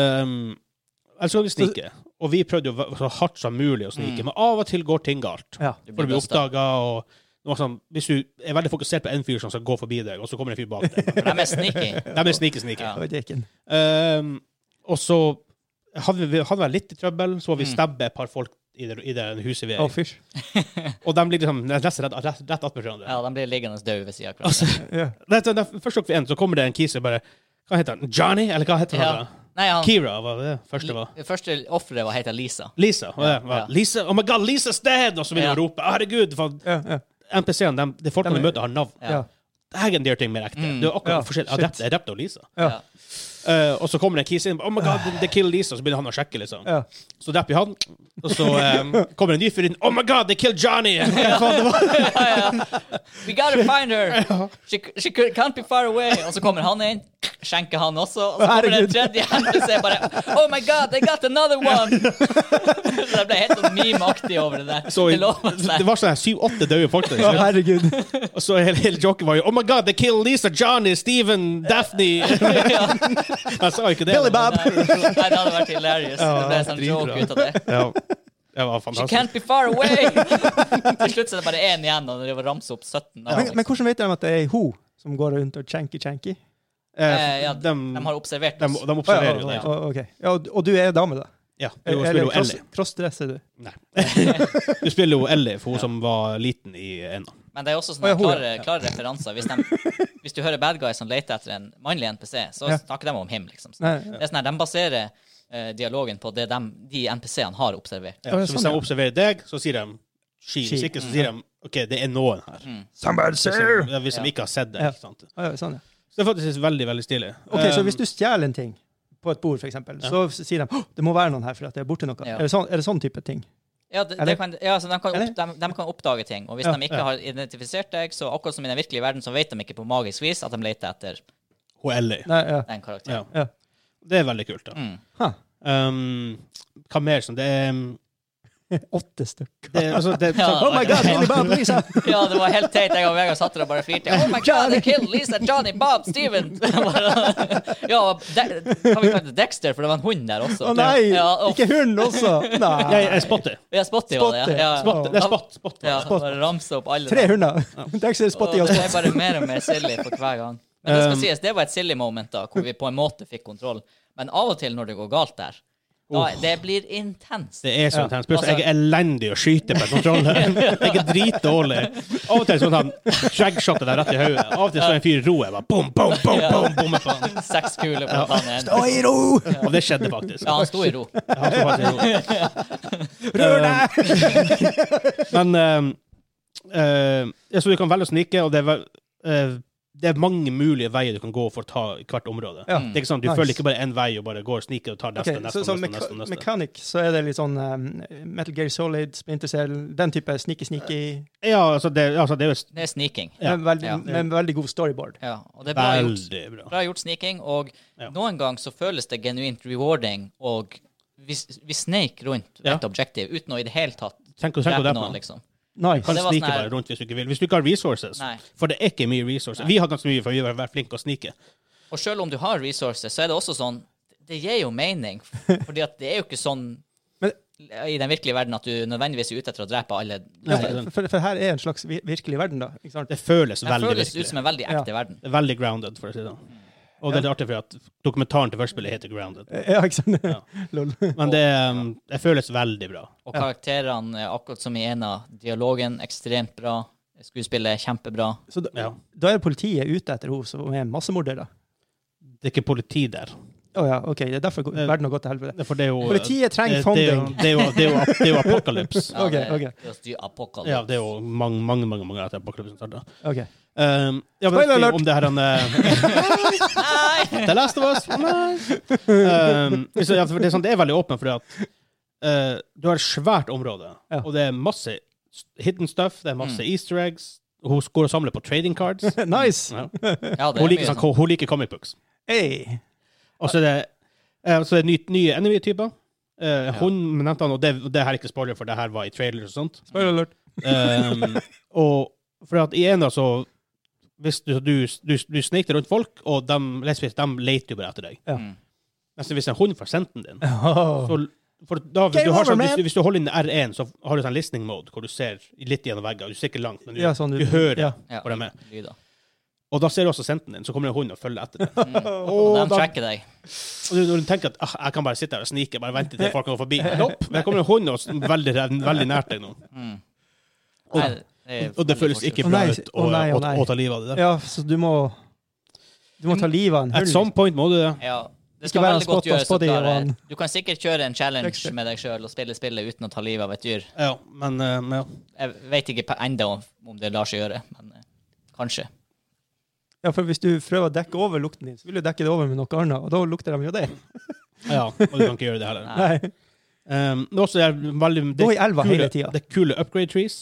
eller så kan vi snike. Og vi prøvde jo ve- så hardt som mulig å snike, men av og til går ting galt.
Mm. Ja.
Du
For
blir
du blir
busta.
oppdaga, og det var sånn, hvis du er veldig fokusert på en fyr som skal gå forbi deg, og så kommer det en fyr bak deg.
De er sneaky.
De er snike-snike.
Ja.
Det var Jaken.
Ehm, og så hadde vi, hadde vi litt i trøbbel,
Mm.
så var vi stabbe et par folk i det, i det huset vi er
Å,
i.
fysj.
og de blir liksom nesten rett, rett, rett attmed hverandre.
Ja, de blir liggende døde ved sida av hverandre.
Altså,
Ja.
det, det, det, først dere vi inn, så kommer det en kis og bare Hva heter han? Johnny? Eller hva heter han?
Ja.
da?
Nei, han,
Kira var det første. var
det første offeret var heter Lisa.
Lisa. var det, var.
Ja.
Lisa, Oh my god, Lisa Sted! Og så vil
Ja.
hun rope. «Ah, Herregud! For
Ja, ja,
NPC-ene, de, de folkene
Dem
vi
er-
møter, har navn.
ja.
Det her er en del ting mer ekte.
Mm.
Det er akkurat
Ja,
forskjellig.
shit.
Adept, adept og Lisa.
Ja.
Ja.
Eh, og så kommer det en kis inn. Oh my god, they killed Lisa. Så begynner han å sjekke, liksom.
Ja.
Så dreper vi han, og så eh, kommer en ny fyr inn. Oh my god, they killed Johnny! Hva faen det var?
We gotta find her! She, she could- can't be far away. Og så kommer han inn, skjenker han også. Og så kommer det en
Herregud.
tredje hendelse. Bare Oh my God, I got another one! Så det ble helt sånn meme-aktig over det der.
Så,
det lover
det
seg.
var sånn her syv-åtte døde folk der.
Å,
liksom.
herregud.
Og så hele, hele joken var jo Oh my god, they killed Lisa, Johnny, Steven, Daphne
Ja.
Jeg sa ikke det.
Billy Bob.
Nei, det hadde vært hilarious. Det ble en sånn
dritbra.
joke ut av det.
Ja. Det var
She
fantastisk.
can't be far away! Til slutt så er det bare én igjen, og det var ramse opp 17 navn.
Men, men hvordan vet de at det er ei ho som går rundt og chanky-chanky?
Eh, ja,
de,
de har observert
de,
oss.
de observerer jo
Å,
det.
ja.
ok. ja, og, og du er dame, da?
Ja, du
Eller-
spiller jo
eller cross-
Ellie.
crossdresser du?
Du spiller jo Ellie, for hun som var liten i ena.
Men det er også
Å,
sånne
ja, hun,
klare, klare referanser. Hvis, de, hvis du hører bad guys som leter etter en mannlig NPC, så
Ja.
snakker de om him, liksom. Så
Nei,
Det er sånn her, De baserer eh, dialogen på det de, de NPC-ene har observert.
Ja,
Ja, det er
så hvis
sånn,
de
ja.
observerer deg, så sier de She.
She.
Hvis ikke, så sier de OK, det er noen her.
Somebody
Hvis de, ja, hvis de
Mm. Ja.
ikke har sett det.
Ja.
Ikke sant?
Ah, ja, sånn, ja.
Så det er faktisk veldig, veldig stilig.
Ok, Så
Um,
hvis du stjeler en ting på et bord, f.eks., eksempel,
Ja.
så s- sier de «Åh, det må være noen her for at det er borte noe.
Ja.
Er, det sånn, er det sånn type ting?
Ja, det,
Eller?
det kan, ja så de kan,
Eller?
opp, de, de kan oppdage ting. Og hvis
Ja,
de ikke
ja.
har identifisert deg, så akkurat som i den virkelige verden, så vet de ikke på magisk vis at de leter etter
Hun Ellie.
Nei, ja.
den karakteren.
Ja.
Ja.
Det er veldig kult. da.
Mm.
Ha.
Um, hva mer som Det er, um,
Åtte stykker.
det er, altså, det er
Ja.
Oh my god, Billy Bob, Lisa!
Ja, det var helt teit. Jeg og Vegard satt der og bare flirte. Oh my god, they killed Lisa, Johnny, Bob, Steven! ja, og De hva vi kalte det? Dexter, for det var en hund der også.
Å nei!
Ja, og,
Ikke hunden også!
Jeg, jeg
Nei.
spotter.
ja Spotty var det. ja. Ja.
Spotty.
Det er spott. spott.
Ja, bare ramse opp alle.
Tre hunder. Dexter,
Og
Spotty og
det er
Spotty.
bare mer og mer silly for hver gang. Men det skal
Um,
sies, det var et silly moment da, hvor vi på en måte fikk kontroll. Men av og til når det går galt der, da, det blir intenst.
Det er så
Ja. Altså-
intenst. Plutselig jeg er elendig å skyte på kontroller. Jeg er dritdårlig. Av og til sånn han dragshotter deg rett i hodet. Av og til så er en fyr i ro. Jeg bare boom, boom, boom,
Ja.
boom, bommer på han.
Seks kuler på tannet.
Stå i ro!
Og det skjedde faktisk.
Ja, han sto i ro.
Han sto faktisk i ro.
Rør deg!
Men ehm, eh, ja, Så du kan velge å snike, og det er, vel, eh, det er mange mulige veier du kan gå for å ta i hvert område.
Ja.
Det er ikke sånn, Du
Nice.
følger ikke bare én vei og bare går og sniker og tar neste,
Ok,
neste,
så, så
neste,
meka
neste, neste.
Mechanic, så er det litt sånn eh, Metal Gear Solid, Splinter Cell, den type sneaky-sneaky,
Ja, altså det, altså, det er jo
Det er sneaking.
Ja.
men, veldig,
Ja.
men veldig god storyboard.
Ja, og det er bra gjort.
veldig bra.
Bra gjort sneaking, og
Ja.
noen gang så føles det genuint rewarding, og vi, vi sneik rundt
Ja.
et objektiv uten å i det hele tatt
Tenk, tenk på
drepe
det. på
noen,
den.
liksom.
Kan
Nice.
det var
snike
sånn her-
bare rundt hvis du ikke vil. Hvis du ikke har resources.
Nei.
For det er ikke mye resources. Vi har ganske mye, for vi har vært flinke å snike.
Og selv om du har resources, så er det også sånn Det gir jo mening, fordi at det er jo ikke sånn
Men-
i den virkelige verden at du nødvendigvis er ute etter å drepe alle.
Ja,
Det
for, for, for her er en slags vi- virkelig verden, da. Ikke sant?
Det føles veldig
føles Mm. ut
virkelig.
som en veldig ekte verden.
Det er veldig grounded, for å si det sånn. Og det er litt artig, for at dokumentaren til Førstspillet heter Grounded.
Ja, ikke sant?
Ja.
Lol.
Men det, ehm, det føles veldig bra.
Og karakterene, er akkurat som i Ena, dialogen ekstremt bra. Skuespillet kjempebra.
Så da,
Ja.
da er politiet ute etter henne som er en massemorder, da.
Det er ikke politi der.
Å ja, OK. Det er derfor go-
Eh,
verden har gått til helvete.
Det er For det er jo,
Politiet trenger
det- det er jo-
funding.
Det er jo- det er jo- det er jo apokalypse.
Ja,
Ok,
det-
ok.
det å styre apokalypse.
Ja, det er jo mange, mange mange, mange etter apokalypsen starta.
OK.
Um, ja, men det er
Spoiler alert!
jo om det her han, eh,
Nei!
The Last of Us Nei. Um, så, ja, for det, er sånn, det er veldig åpent, fordi at eh, du har et svært område,
Ja.
og det er masse hidden stuff, det er masse easter eggs. Hun går og samler på trading cards.
Nice!
Ja.
Ja, det
Hun
er
liker,
mye
sånn,
sånn.
hun liker comic books.
Hey.
Og så er det, eh, så er det ny, nye enemy-typer. Eh, hun nevnte han, og det, og det her er ikke spoiler, for det her var i trailers og sånt.
Spoiler alert.
Um, og for at i en da, så Hvis du, du, du, du snek deg rundt folk, og de, lesbisk, de leter jo bare etter deg.
Ja.
Mm.
Mens hvis en hund får senten din
Oh.
så, for da, hvis,
Game
du har
over,
sånn, hvis,
man.
du, hvis du holder inn R1, så har du sånn listening mode, hvor du ser litt gjennom veggene. Du ser ikke langt, men du,
Ja, sånn
du,
du-
hører
ja.
Ja,
hvor de er.
lyder.
Og da ser du også senten din, så kommer det en hund og følger etter deg.
Og
Og
de
da
tracker deg.
Og du, når du tenker at ah, jeg kan bare sitte her og snike, bare vente til folk kommer forbi. Nopp, der kommer en hund og s- veldig, rev- veldig nært deg nå. Og,
Mm. Nei, det er
og det
veldig
føles
positivt.
ikke
Å
bra
nei,
ut å,
å nei, å
å,
nei.
å ta livet av det der.
Ja, så du må Du må ta livet av en
At
hund.
some point må du det.
Ja. Det
Ikke
skal
være
veldig godt
spot on
gjøres å
spotty,
klare
Johan.
Du kan sikkert kjøre en challenge
Flexer.
med deg sjøl og spille spillet uten å ta livet av et dyr.
Ja, men eh, men ja.
Jeg vet ikke ennå om det lar seg gjøre, men eh, kanskje.
Ja, for hvis du prøver å dekke over lukten din, så vil du dekke det over med noe annet, og da lukter de jo det.
ja. Og du kan ikke gjøre det heller.
Nei.
Nei.
Um, men også er det veldig, det
Gå i elva
kule,
hele tida.
Det er kule upgrade trees.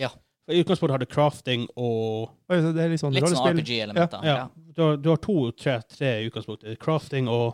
Ja.
I utgangspunktet har du crafting og
Oi, så Det er litt sånn
Litt sånn
rollespill.
RPG-elementer.
Ja.
Ja.
Du, har, du har to, tre, tre i utgangspunktet. Crafting og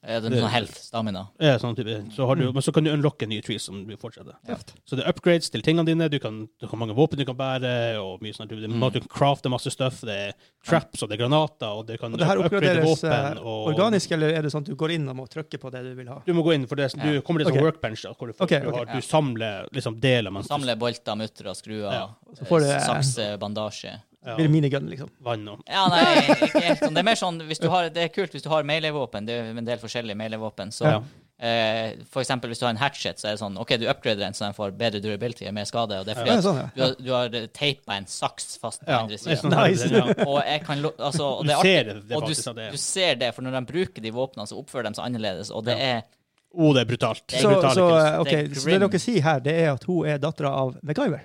Eh, Det er sånn health, stamina.
ja, sånn type. Så har du,
Mm.
Men så kan du unlocke nye trees som du fortsetter.
Ja.
Så det er upgrades til tingene dine. Du kan, du kan mange våpen du kan bære, og mye sånn. Du,
Mm.
du kan crafte masse stuff. Det er traps, og det er granater, og du kan
Og det her
upgrade
oppgraderes eh,
våpen. Og,
organisk, eller er det sånn at du går inn og må trykke på det du vil ha?
Du må gå inn, for det, du
Ja.
kommer til en
Ok.
sånn workbench da, hvor du, får,
Ok,
du,
ok.
har,
Ja.
du samler liksom deler mens
Samle bolter, muttere, skruer,
Ja.
Så får du-
eh, sakse, bandasje.
du ja,
Blir det minigun, liksom?
vann og
Ja, nei, ikke helt sånn. Det er mer sånn hvis du har, Det er kult hvis du har melee-våpen. Det er en del forskjellige melee-våpen. Så
Ja.
eh, for eksempel hvis du har en hatchet, så er det sånn OK, du upgrader den så den får bedre durability og mer skade. Og det er fordi
Ja,
at
sånn, ja.
du har, du har teipa en saks fast på
ja,
andre
det er sånn
sida.
her,
Nice.
det- ja.
Og jeg kan lo altså, og
Du
det er
ser
artig.
det, det er
og du,
faktisk at det er-
du ser det, for når de bruker de våpnene, så oppfører de seg annerledes, og det er
Å, det er brutalt. Det er
Så,
brutale
så,
kunst.
eh, ok,
Det er
så det
grim.
dere sier her, det er at hun er dattera av MacGyver?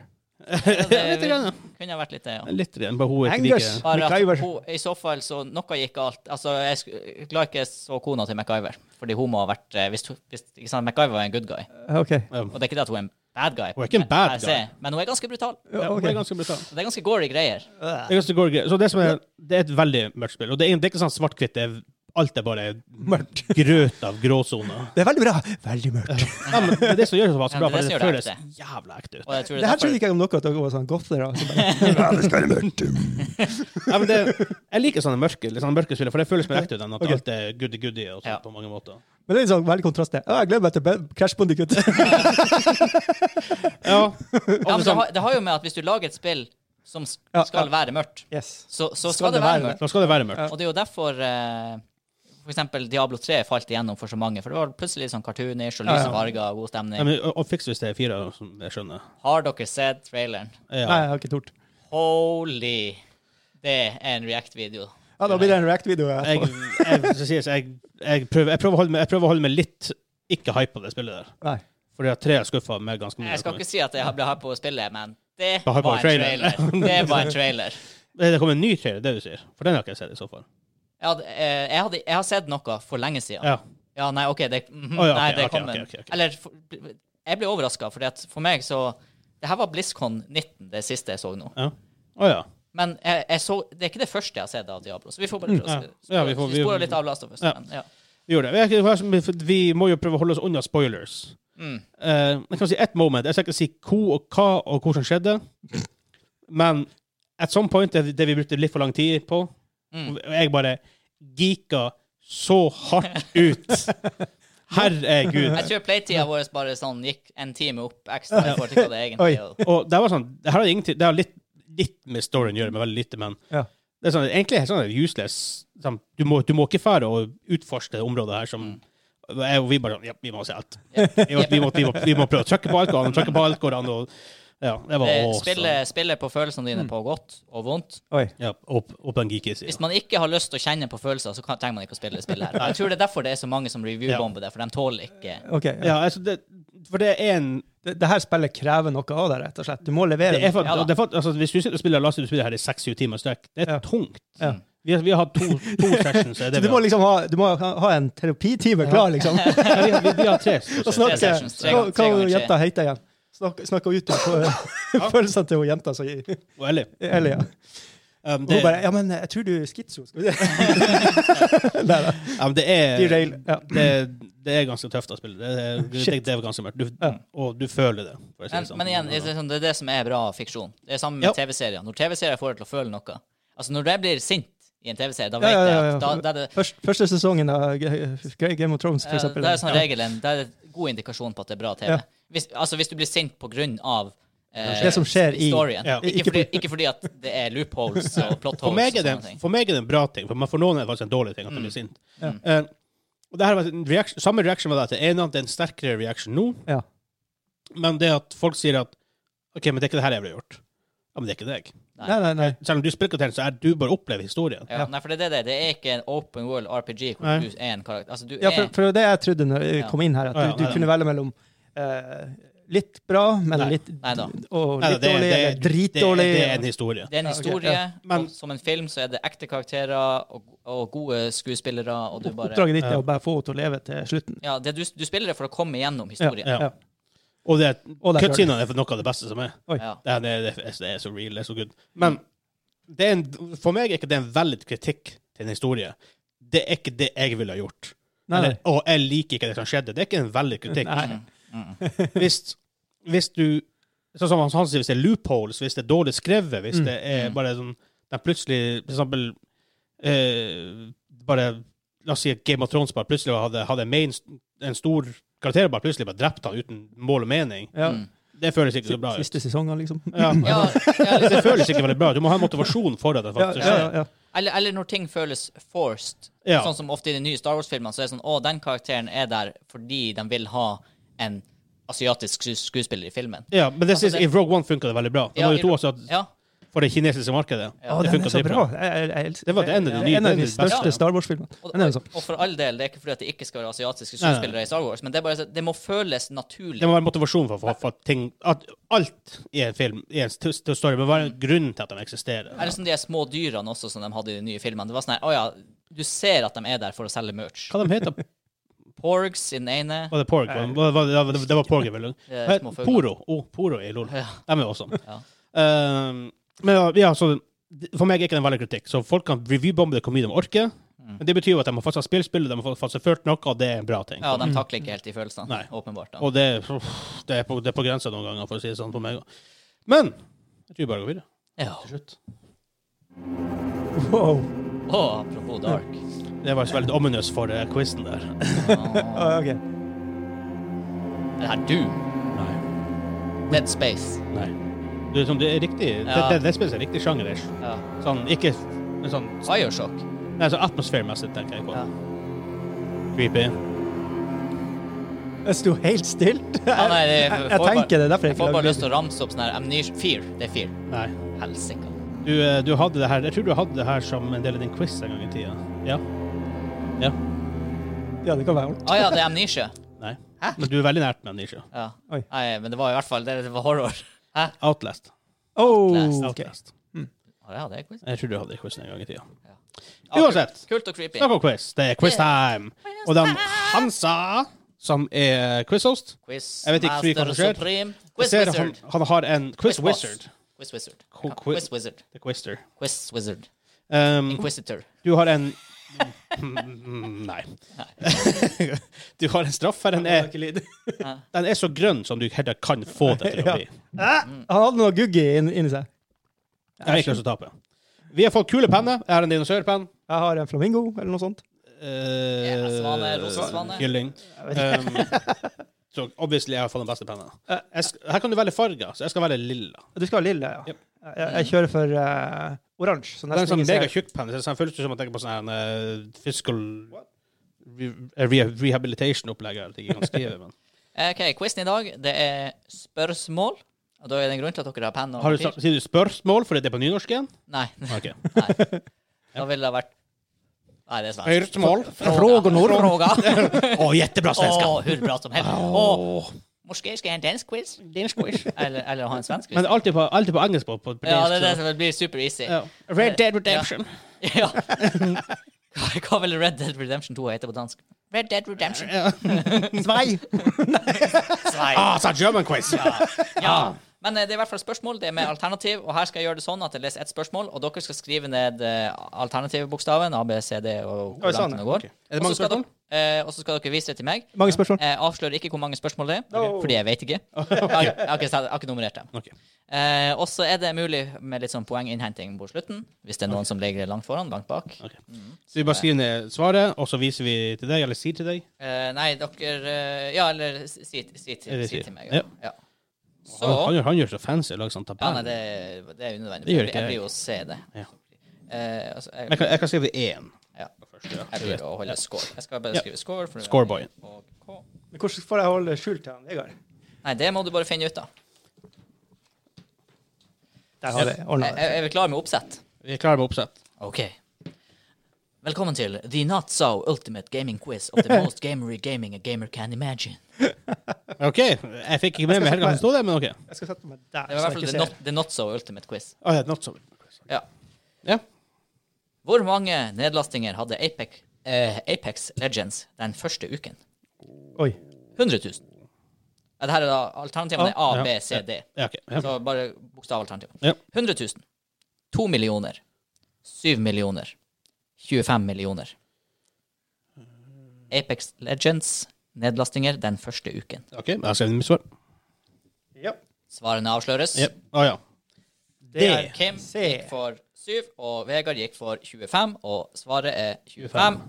eh, det-
Litt grann, ja.
Kunne ha vært litt det, ja.
Litt igjen, bare hun er ikke
Angus.
like
Bare
MacGyver.
at hun, I så fall så noe gikk galt. Altså, jeg sk- jeg klarer ikke så kona til MacGyver. Fordi hun må ha vært eh, Hvis, hun- hvis ikke sant, MacGyver er en good guy.
OK.
Ja,
Og det er ikke det at hun er en bad guy.
Hun er ikke en bad
per se,
guy.
Men hun er ganske brutal.
Ja,
Hun
ok.
er ganske brutal.
Det er ganske gory greier.
Det er, ganske gore greier. så det, som er, det er et veldig mørkt spill. Og det er, det er ikke sånn svart-hvitt. det er- Alt er bare
Mørkt.
grøt av gråsoner.
Det er veldig bra! Veldig mørkt.
Ja, men det er det som gjør det så vanskelig bra,
Ja, det er det
for det
som gjør det
føles jævla ekte ut.
Og jeg tror det
Det
er
her
derfor
trodde ikke jeg om noe, at dere var sånn gothlere. og så bare, Ja, det skal være mørkt.
Ja, men det, jeg liker sånne mørke, litt sånne mørke spill, for det føles mer ekte ut enn at
Ok.
alt er goody-goody og sånt
Ja.
på mange måter.
Men det er litt sånn veldig kontrast. det. Ja, Jeg gleder meg til Be- Crash Bandicoot.
Ja,
ja,
altså,
men det, har, det har jo med at hvis du lager et spill som s-
Ja,
skal
ja.
være mørkt,
Yes.
så, så skal det være mørkt.
da skal det være mørkt.
Og det er jo derfor eh, for eksempel Diablo 3 falt igjennom for så mange. For det var plutselig sånn cartoonish og lyse
Ja, ja.
farger og god
Ja,
stemning.
men, og, og fiks hvis det er fire, som jeg skjønner.
Har dere sett traileren?
Nei,
Ja.
jeg har ikke tort.
Holy! Det er en React-video.
Ja, Da blir det en React-video.
Jeg,
etterpå.
jeg, skal sies, jeg, jeg, prøver, jeg, prøver å holde meg, jeg prøver å holde meg litt ikke hype på det spillet der.
Nei.
Fordi at tre er skuffa med ganske mye.
Jeg skal ikke si at jeg ble her på spillet, men det var
Bare her på
en
trailer.
trailer. Det var en trailer.
Det det kommer en ny trailer, det du sier. For den har ikke jeg sett i så fall.
Jeg, hadde, eh, jeg, hadde, jeg har sett noe for lenge siden. Ja,
Ja.
nei, OK, det, mhm,
Å, ja,
nei,
ok,
det
ok,
kom en
ok, ok, ok.
Eller for, Jeg ble overraska, for for meg så Det her var BlizzCon 19, det siste jeg så nå.
ja. Å ja.
Men jeg, jeg så, det er ikke det første jeg har sett av Diablo, så vi får bare prøve.
Mm, ja. Ja, vi får- vi-
sporer litt av Last of Us.
Ja.
Men, ja.
Vi gjorde det. Vi, er ikke- for vi må jo prøve å holde oss unna spoilers.
Mm.
Eh, jeg kan si ett moment. Jeg skal ikke si hvor og hva og hvordan skjedde. Men at some point, det, det vi brukte litt for lang tid på
Mm.
og Jeg bare geeka så hardt ut. Herregud.
Jeg tror playtida vår bare sånn gikk en time opp ekstra i forhold til hva det egentlig
Oi.
er.
Og det var sånn Det her har ingenting Det har litt, litt med storyen å gjøre, men veldig lite. Men
Ja.
det er sånn, egentlig er det sånn useless. Sånn, du, må, du må ikke fære og utforske det området her som jeg, og vi bare sånn Ja, vi må se alt. Vi, må, vi, må, vi, må, vi må prøve å trykke på alt går an, trykke på alt går an, og Ja, det var
Det
også-
spiller, spiller på følelsene dine
Mm.
på godt og vondt.
Oi.
Ja, opp, opp den geeky sida.
Hvis man ikke har lyst til å kjenne på følelser, så kan, trenger man ikke å spille det spillet her. Og Jeg tror det er derfor det er så mange som review-bomber det, for de tåler ikke
OK. Ja.
Ja, altså det, for det er en
Det, det her spillet krever noe av deg, rett og slett. Du må levere.
det er for,
Ja da.
det er for, altså, Hvis du sitter og spiller Last of Us her i seks-syv timer strekk, det er
Ja.
tungt.
Ja.
Vi, har, vi har hatt to, to sessions. er Det
Så du
vi,
må
har.
liksom ha, du må ha ha en terapitime klar, liksom.
Ja, vi, har- vi, vi har tre.
Og snakke.
sessions, tre
Hva
ganger- tre
hva
ganger tre.
jenta heter igjen? Snakka snakka ut om på- følelsene til hun jenta som Eller,
Og Ellie.
ja.
Um,
Hun
det,
bare Ja, men jeg tror du er skitso. Skal vi se. Nei da.
ja, men det er
Derail. Ja.
det, det er ganske tøft å spille. Det, er- det, det er ganske mørkt. Du,
Ja.
Og du føler det. for å si det
Men,
liksom.
sånn.
men igjen, det er sånn- det er det som er bra fiksjon. Det er samme med
Ja.
TV-serier. Når TV-serier får deg til å føle noe Altså, når jeg blir sint i en TV-serie, da
Ja,
vet
ja, ja,
jeg
ja.
at da, da er det
Først, første sesongen av G- G- Game of Thrones, for
Ja,
eksempel.
Det er som
sånn
Ja.
regel en det er en god indikasjon på at det er bra TV.
Ja.
Hvis, altså hvis du blir sint på grunn av eh,
Det som skjer i-
storyen.
Ja.
Ikke,
Ikke
fordi, ikke fordi at det er loopholes og plot
For
holes
meg,
og
er det,
sånne ting.
for meg er det en bra ting, for men for noen er det faktisk en dårlig ting at
Mm.
de blir sint. Eh, og det her var en reaksjon, Samme reaksjon var det til en annen, det er en sterkere reaksjon nå,
Ja.
men det at folk sier at OK, men det er ikke det her jeg ville gjort. Ja, men det er ikke deg.
Nei, nei, nei.
Selv om du spiller kvarteren, så er du bare opplever historien.
Ja, nei, for det er det det er. Det er ikke en open world RPG hvor
Nei.
du er en karakter. Altså, du
Ja,
er
for, for det var det jeg trodde når jeg
Ja.
kom inn her, at
Å, ja,
du, du
nei,
kunne velge mellom eh, litt bra, men
Nei.
litt,
Nei da.
og
Nei,
litt
det-
dårlig,
det-
eller
Det,
dritdårlig.
det er en historie.
det er en
Ja, ok,
historie,
ja.
Men-
og som en film så er det ekte karakterer og, og gode skuespillere, og du bare
Oppdraget ditt er å bare få henne til å leve til slutten.
Ja, det du, du spiller det for å komme gjennom historien.
Ja.
Ja.
Og det,
Og det er
cutscenene er noe av det beste som er.
Oi.
Ja.
Det, her, det, er- det, er- det er så real, det er så good. Men det er en, for meg er ikke det en veldig kritikk til en historie. Det er ikke det jeg ville ha gjort.
Nei, nei.
Eller, og jeg liker ikke det som skjedde. Det er ikke en veldig kritikk.
Mm,
Nei.
Hvis, hvis du Sånn som han sier, hvis det er loopholes, hvis det er dårlig skrevet, hvis
Mm.
det er bare sånn den plutselig For eksempel eh, bare La oss si at Game of Thrones bare plutselig hadde, hadde en main, en stor karakter bare plutselig bare drept han uten mål og mening.
Ja.
Mm.
Det føles ikke så bra ut.
Siste sesongen, liksom.
Ja.
Ja, ja,
Det føles ikke veldig bra ut. Du må ha en motivasjon for at det
Ja,
faktisk
ja,
skjer.
ja.
Eller, eller når ting føles forced.
Ja.
Sånn som ofte i de nye Star Wars-filmene, så er det sånn Å, den karakteren er der fordi de vil ha en asiatisk sku- skuespiller i filmen.
Ja, men det
Altså,
synes,
det-
i Rogue One funka det veldig bra. Det
Ja,
var
i-
jo to også at,
Ja.
for det kinesiske markedet.
Å,
Det
den
funker
er så
dritbra.
bra! Jeg, jeg, jeg, elsker-
Det var det ene av de nye-
en
det er
av de
det
største
beste.
Star Wars-filmene.
Og,
Den er jo
og,
sånn.
og for all del, det er ikke fordi at det ikke skal være asiatiske
Nei, nei.
skuespillere i Star Wars, men det er bare så, det må føles
Det
naturlig.
må være motivasjon for, for, for ting At alt i en film, i en st- st- story, må være en grunn til at den eksisterer.
Eller som de er små dyrene også, som de hadde i de nye filmene. Det var sånn her Å ja, du ser at de er der for å selge merch.
Hva de heter de?
Porgs i den ene.
Var det Porg? Var- var- var- Det var, det var Porg, vel?
er
Hva-
Eh, små fugler.
Poro. Oh, Poro i LOL.
Ja.
De er awesome.
Ja.
Um, men ja, ja, så For meg er ikke den veldig kritikk. Så folk kan reviewbombe det hvor mye de orker.
Mm.
Men det betyr jo at de har faktisk spilt spillet, de har faktisk følt noe, og det er en bra ting.
Ja, de takler ikke helt de følelsene,
Mm. Nei.
åpenbart. da.
Og det, uff, det er på, det er på grensa noen ganger, for å si det sånn på meg. Men jeg tror vi bare går videre.
Ja.
Til slutt.
Wow.
Å, apropos Dark.
Det var så veldig ominøst for uh, quizen der.
Ja, Ah, ok.
Det her du.
Nei.
Dead Space.
Nei. Det er, sånn, det er riktig det,
Ja.
det, det spiller seg riktig sjanger-ish.
Ja.
Sånn, ikke men sånn,
Bioshock.
nei, sånn atmosfæremessig, tenker jeg på.
Ja.
Creepy.
Jeg sto helt stilt.
Ja, nei, det,
Jeg, jeg, jeg tenker det, derfor jeg
Jeg får
ikke
bare
lager
lyst til å ramse opp sånn her Amnesia Fear. Det er fear.
Nei.
Helsike.
Du, eh, du hadde det her Jeg tror du hadde det her som en del av din quiz en gang i tida. Ja. Ja.
lyd. Ja, det kan være ordentlig.
Ah, ja, det er amnesia.
Nei. Men du er veldig nært med amnesia.
Ja.
Oi.
Nei, men det var i hvert fall det, det var horror. Hæ?
Outlast.
Oh, ok.
Outlast.
Å, Ja, det er quiz.
Jeg tror du hadde det quizen en gang i tida.
Ah,
Uansett.
Kult, kult og creepy.
Snakk om quiz. Det er quiz time. Og den Hansa, som er quizhost
Quiz
Jeg vet ikke hvor mye
Master
hva som skjer.
Supreme.
Jeg
Quiz
ser han,
Wizard.
han har en quiz
Quizboss.
wizard.
Quiz Wizard.
Qu-
Ja,
quiz-
Quiz Wizard.
The quizster.
Quiz Wizard.
Um,
Inquisitor.
Du har en Mm, Nei. Du har en straff her. Den er, den er så grønn som du heller kan få det til å bli.
Mm.
Han hadde noe guggy inn- inni seg.
Jeg har ikke lyst til å tape. Vi har fått kule penner. Jeg har en dinosaurpenn.
Jeg har en flamingo, eller noe sånt.
Eh,
Ja, svane, rosesvane.
Kylling. Um, så obviously jeg har fått den beste pennen.
Eh.
Jeg sk- Her kan du velge farger, så jeg skal velge lilla.
Du skal ha lilla, ja.
Yep.
Jeg, jeg kjører for eh, oransje. så
Det er en
nesten
sånn
ingen ser.
megatjukk penn. så Den føles ut som at jeg tenker på sånn her, eh, fiscal re- re- rehabilitation-opplegg. Jeg vet ikke hva jeg kan skrive, men
OK, quizen i dag, det er spørsmål. Og da er det en grunn til at dere har penn og
Har du,
papir.
sa- sier du spørsmål fordi det er på nynorsken?
Nei.
Ok.
Nei. Da ville det vært Nei, det er svensk.
Spørsmål.
Frågor norr.
Fråga.
Å, jättebra svenska!
Åh, hur bra som helst. Åh, måske ska jag ha en dansk quiz. Eller, eller ha en svensk quiz.
Men alltid på, alltid på engelsk. På, på, på
ja,
dansk,
det, er det
så-
som blir super easy.
Ja. Red Dead Redemption.
Ja. Hva- Hva vil Red Dead Redemption 2 hete på dansk? Red Dead Redemption.
Svei!
Svei.
Ah, sa German quiz!
Ja. Men eh, det er i hvert fall spørsmål. Det er med alternativ. Og her skal jeg gjøre det sånn at jeg leser ett spørsmål, og dere skal skrive ned eh, alternativbokstaven. A, B, C, D og
Oi,
hvor langt
sånn,
den
ja.
går.
Ok. Er det
Og så
mange
skal
spørsmål?
dere- eh, Og så skal dere vise det til meg. Eh,
Mange spørsmål.
Jeg avslører ikke hvor mange spørsmål det er,
Ok.
fordi jeg vet ikke. Jeg har, jeg har, ikke, jeg har ikke nummerert dem.
Ok.
Eh, og så er det mulig med litt sånn poenginnhenting på slutten, hvis det er noen som ligger langt foran, langt bak.
Ok.
Mm.
Så vi bare skriver ned svaret, og så viser vi til deg, eller sier til deg.
Eh, nei, dere eh, Ja, eller si, si, si, til-
Eller
si
si.
til meg. Ja. Ja. Så
Han, han, gjør, han gjør så fancy å lage sånn
Ja,
tabell.
nei, det, det er unødvendig.
Det gjør
Jeg-
ikke
jeg
jeg.
blir jo å se det.
Ja.
Eh, altså, jeg,
jeg, kan, jeg kan skrive én.
ja.
Først, ja.
jeg blir å holde score. Jeg skal bare
Ja.
skrive score. for-
Scoreboy.
og K.
Men hvordan får jeg holde skjult til han, Vegard?
Nei, det må du bare finne ut av.
Der har jeg ordna
Jeg,
det.
jeg, er vi klar med oppsett?
Vi er klare med oppsett.
OK. Velkommen til The Not So Ultimate Gaming Quiz of the Most Gamery Gaming a Gamer Can Imagine.
OK. Jeg fikk ikke med meg helt hva det sto der, men OK.
Jeg skal sette meg der.
Det var i hvert
så jeg
fall
ikke
The
ser.
Not, the not So Ultimate Quiz.
Oh, yeah, not so.
Ja.
Ja.
Hvor mange nedlastinger hadde Apex, eh, Apex Legends den første uken?
Oi.
100 000. Ja, det her er da alternativene er A,
Ja.
B, C, D.
Ja, ok. ja.
Så bare bokstavalternativ.
Ja.
100 000. 2 millioner. 7 millioner. 25 millioner. Apex Legends nedlastinger den første uken.
OK, jeg har skrevet mitt svar.
Ja.
Svarene avsløres.
Ja. Å ja.
Det
Det.
er
Kim
C.
gikk for 7, og Vegard gikk for 25, og svaret er 25.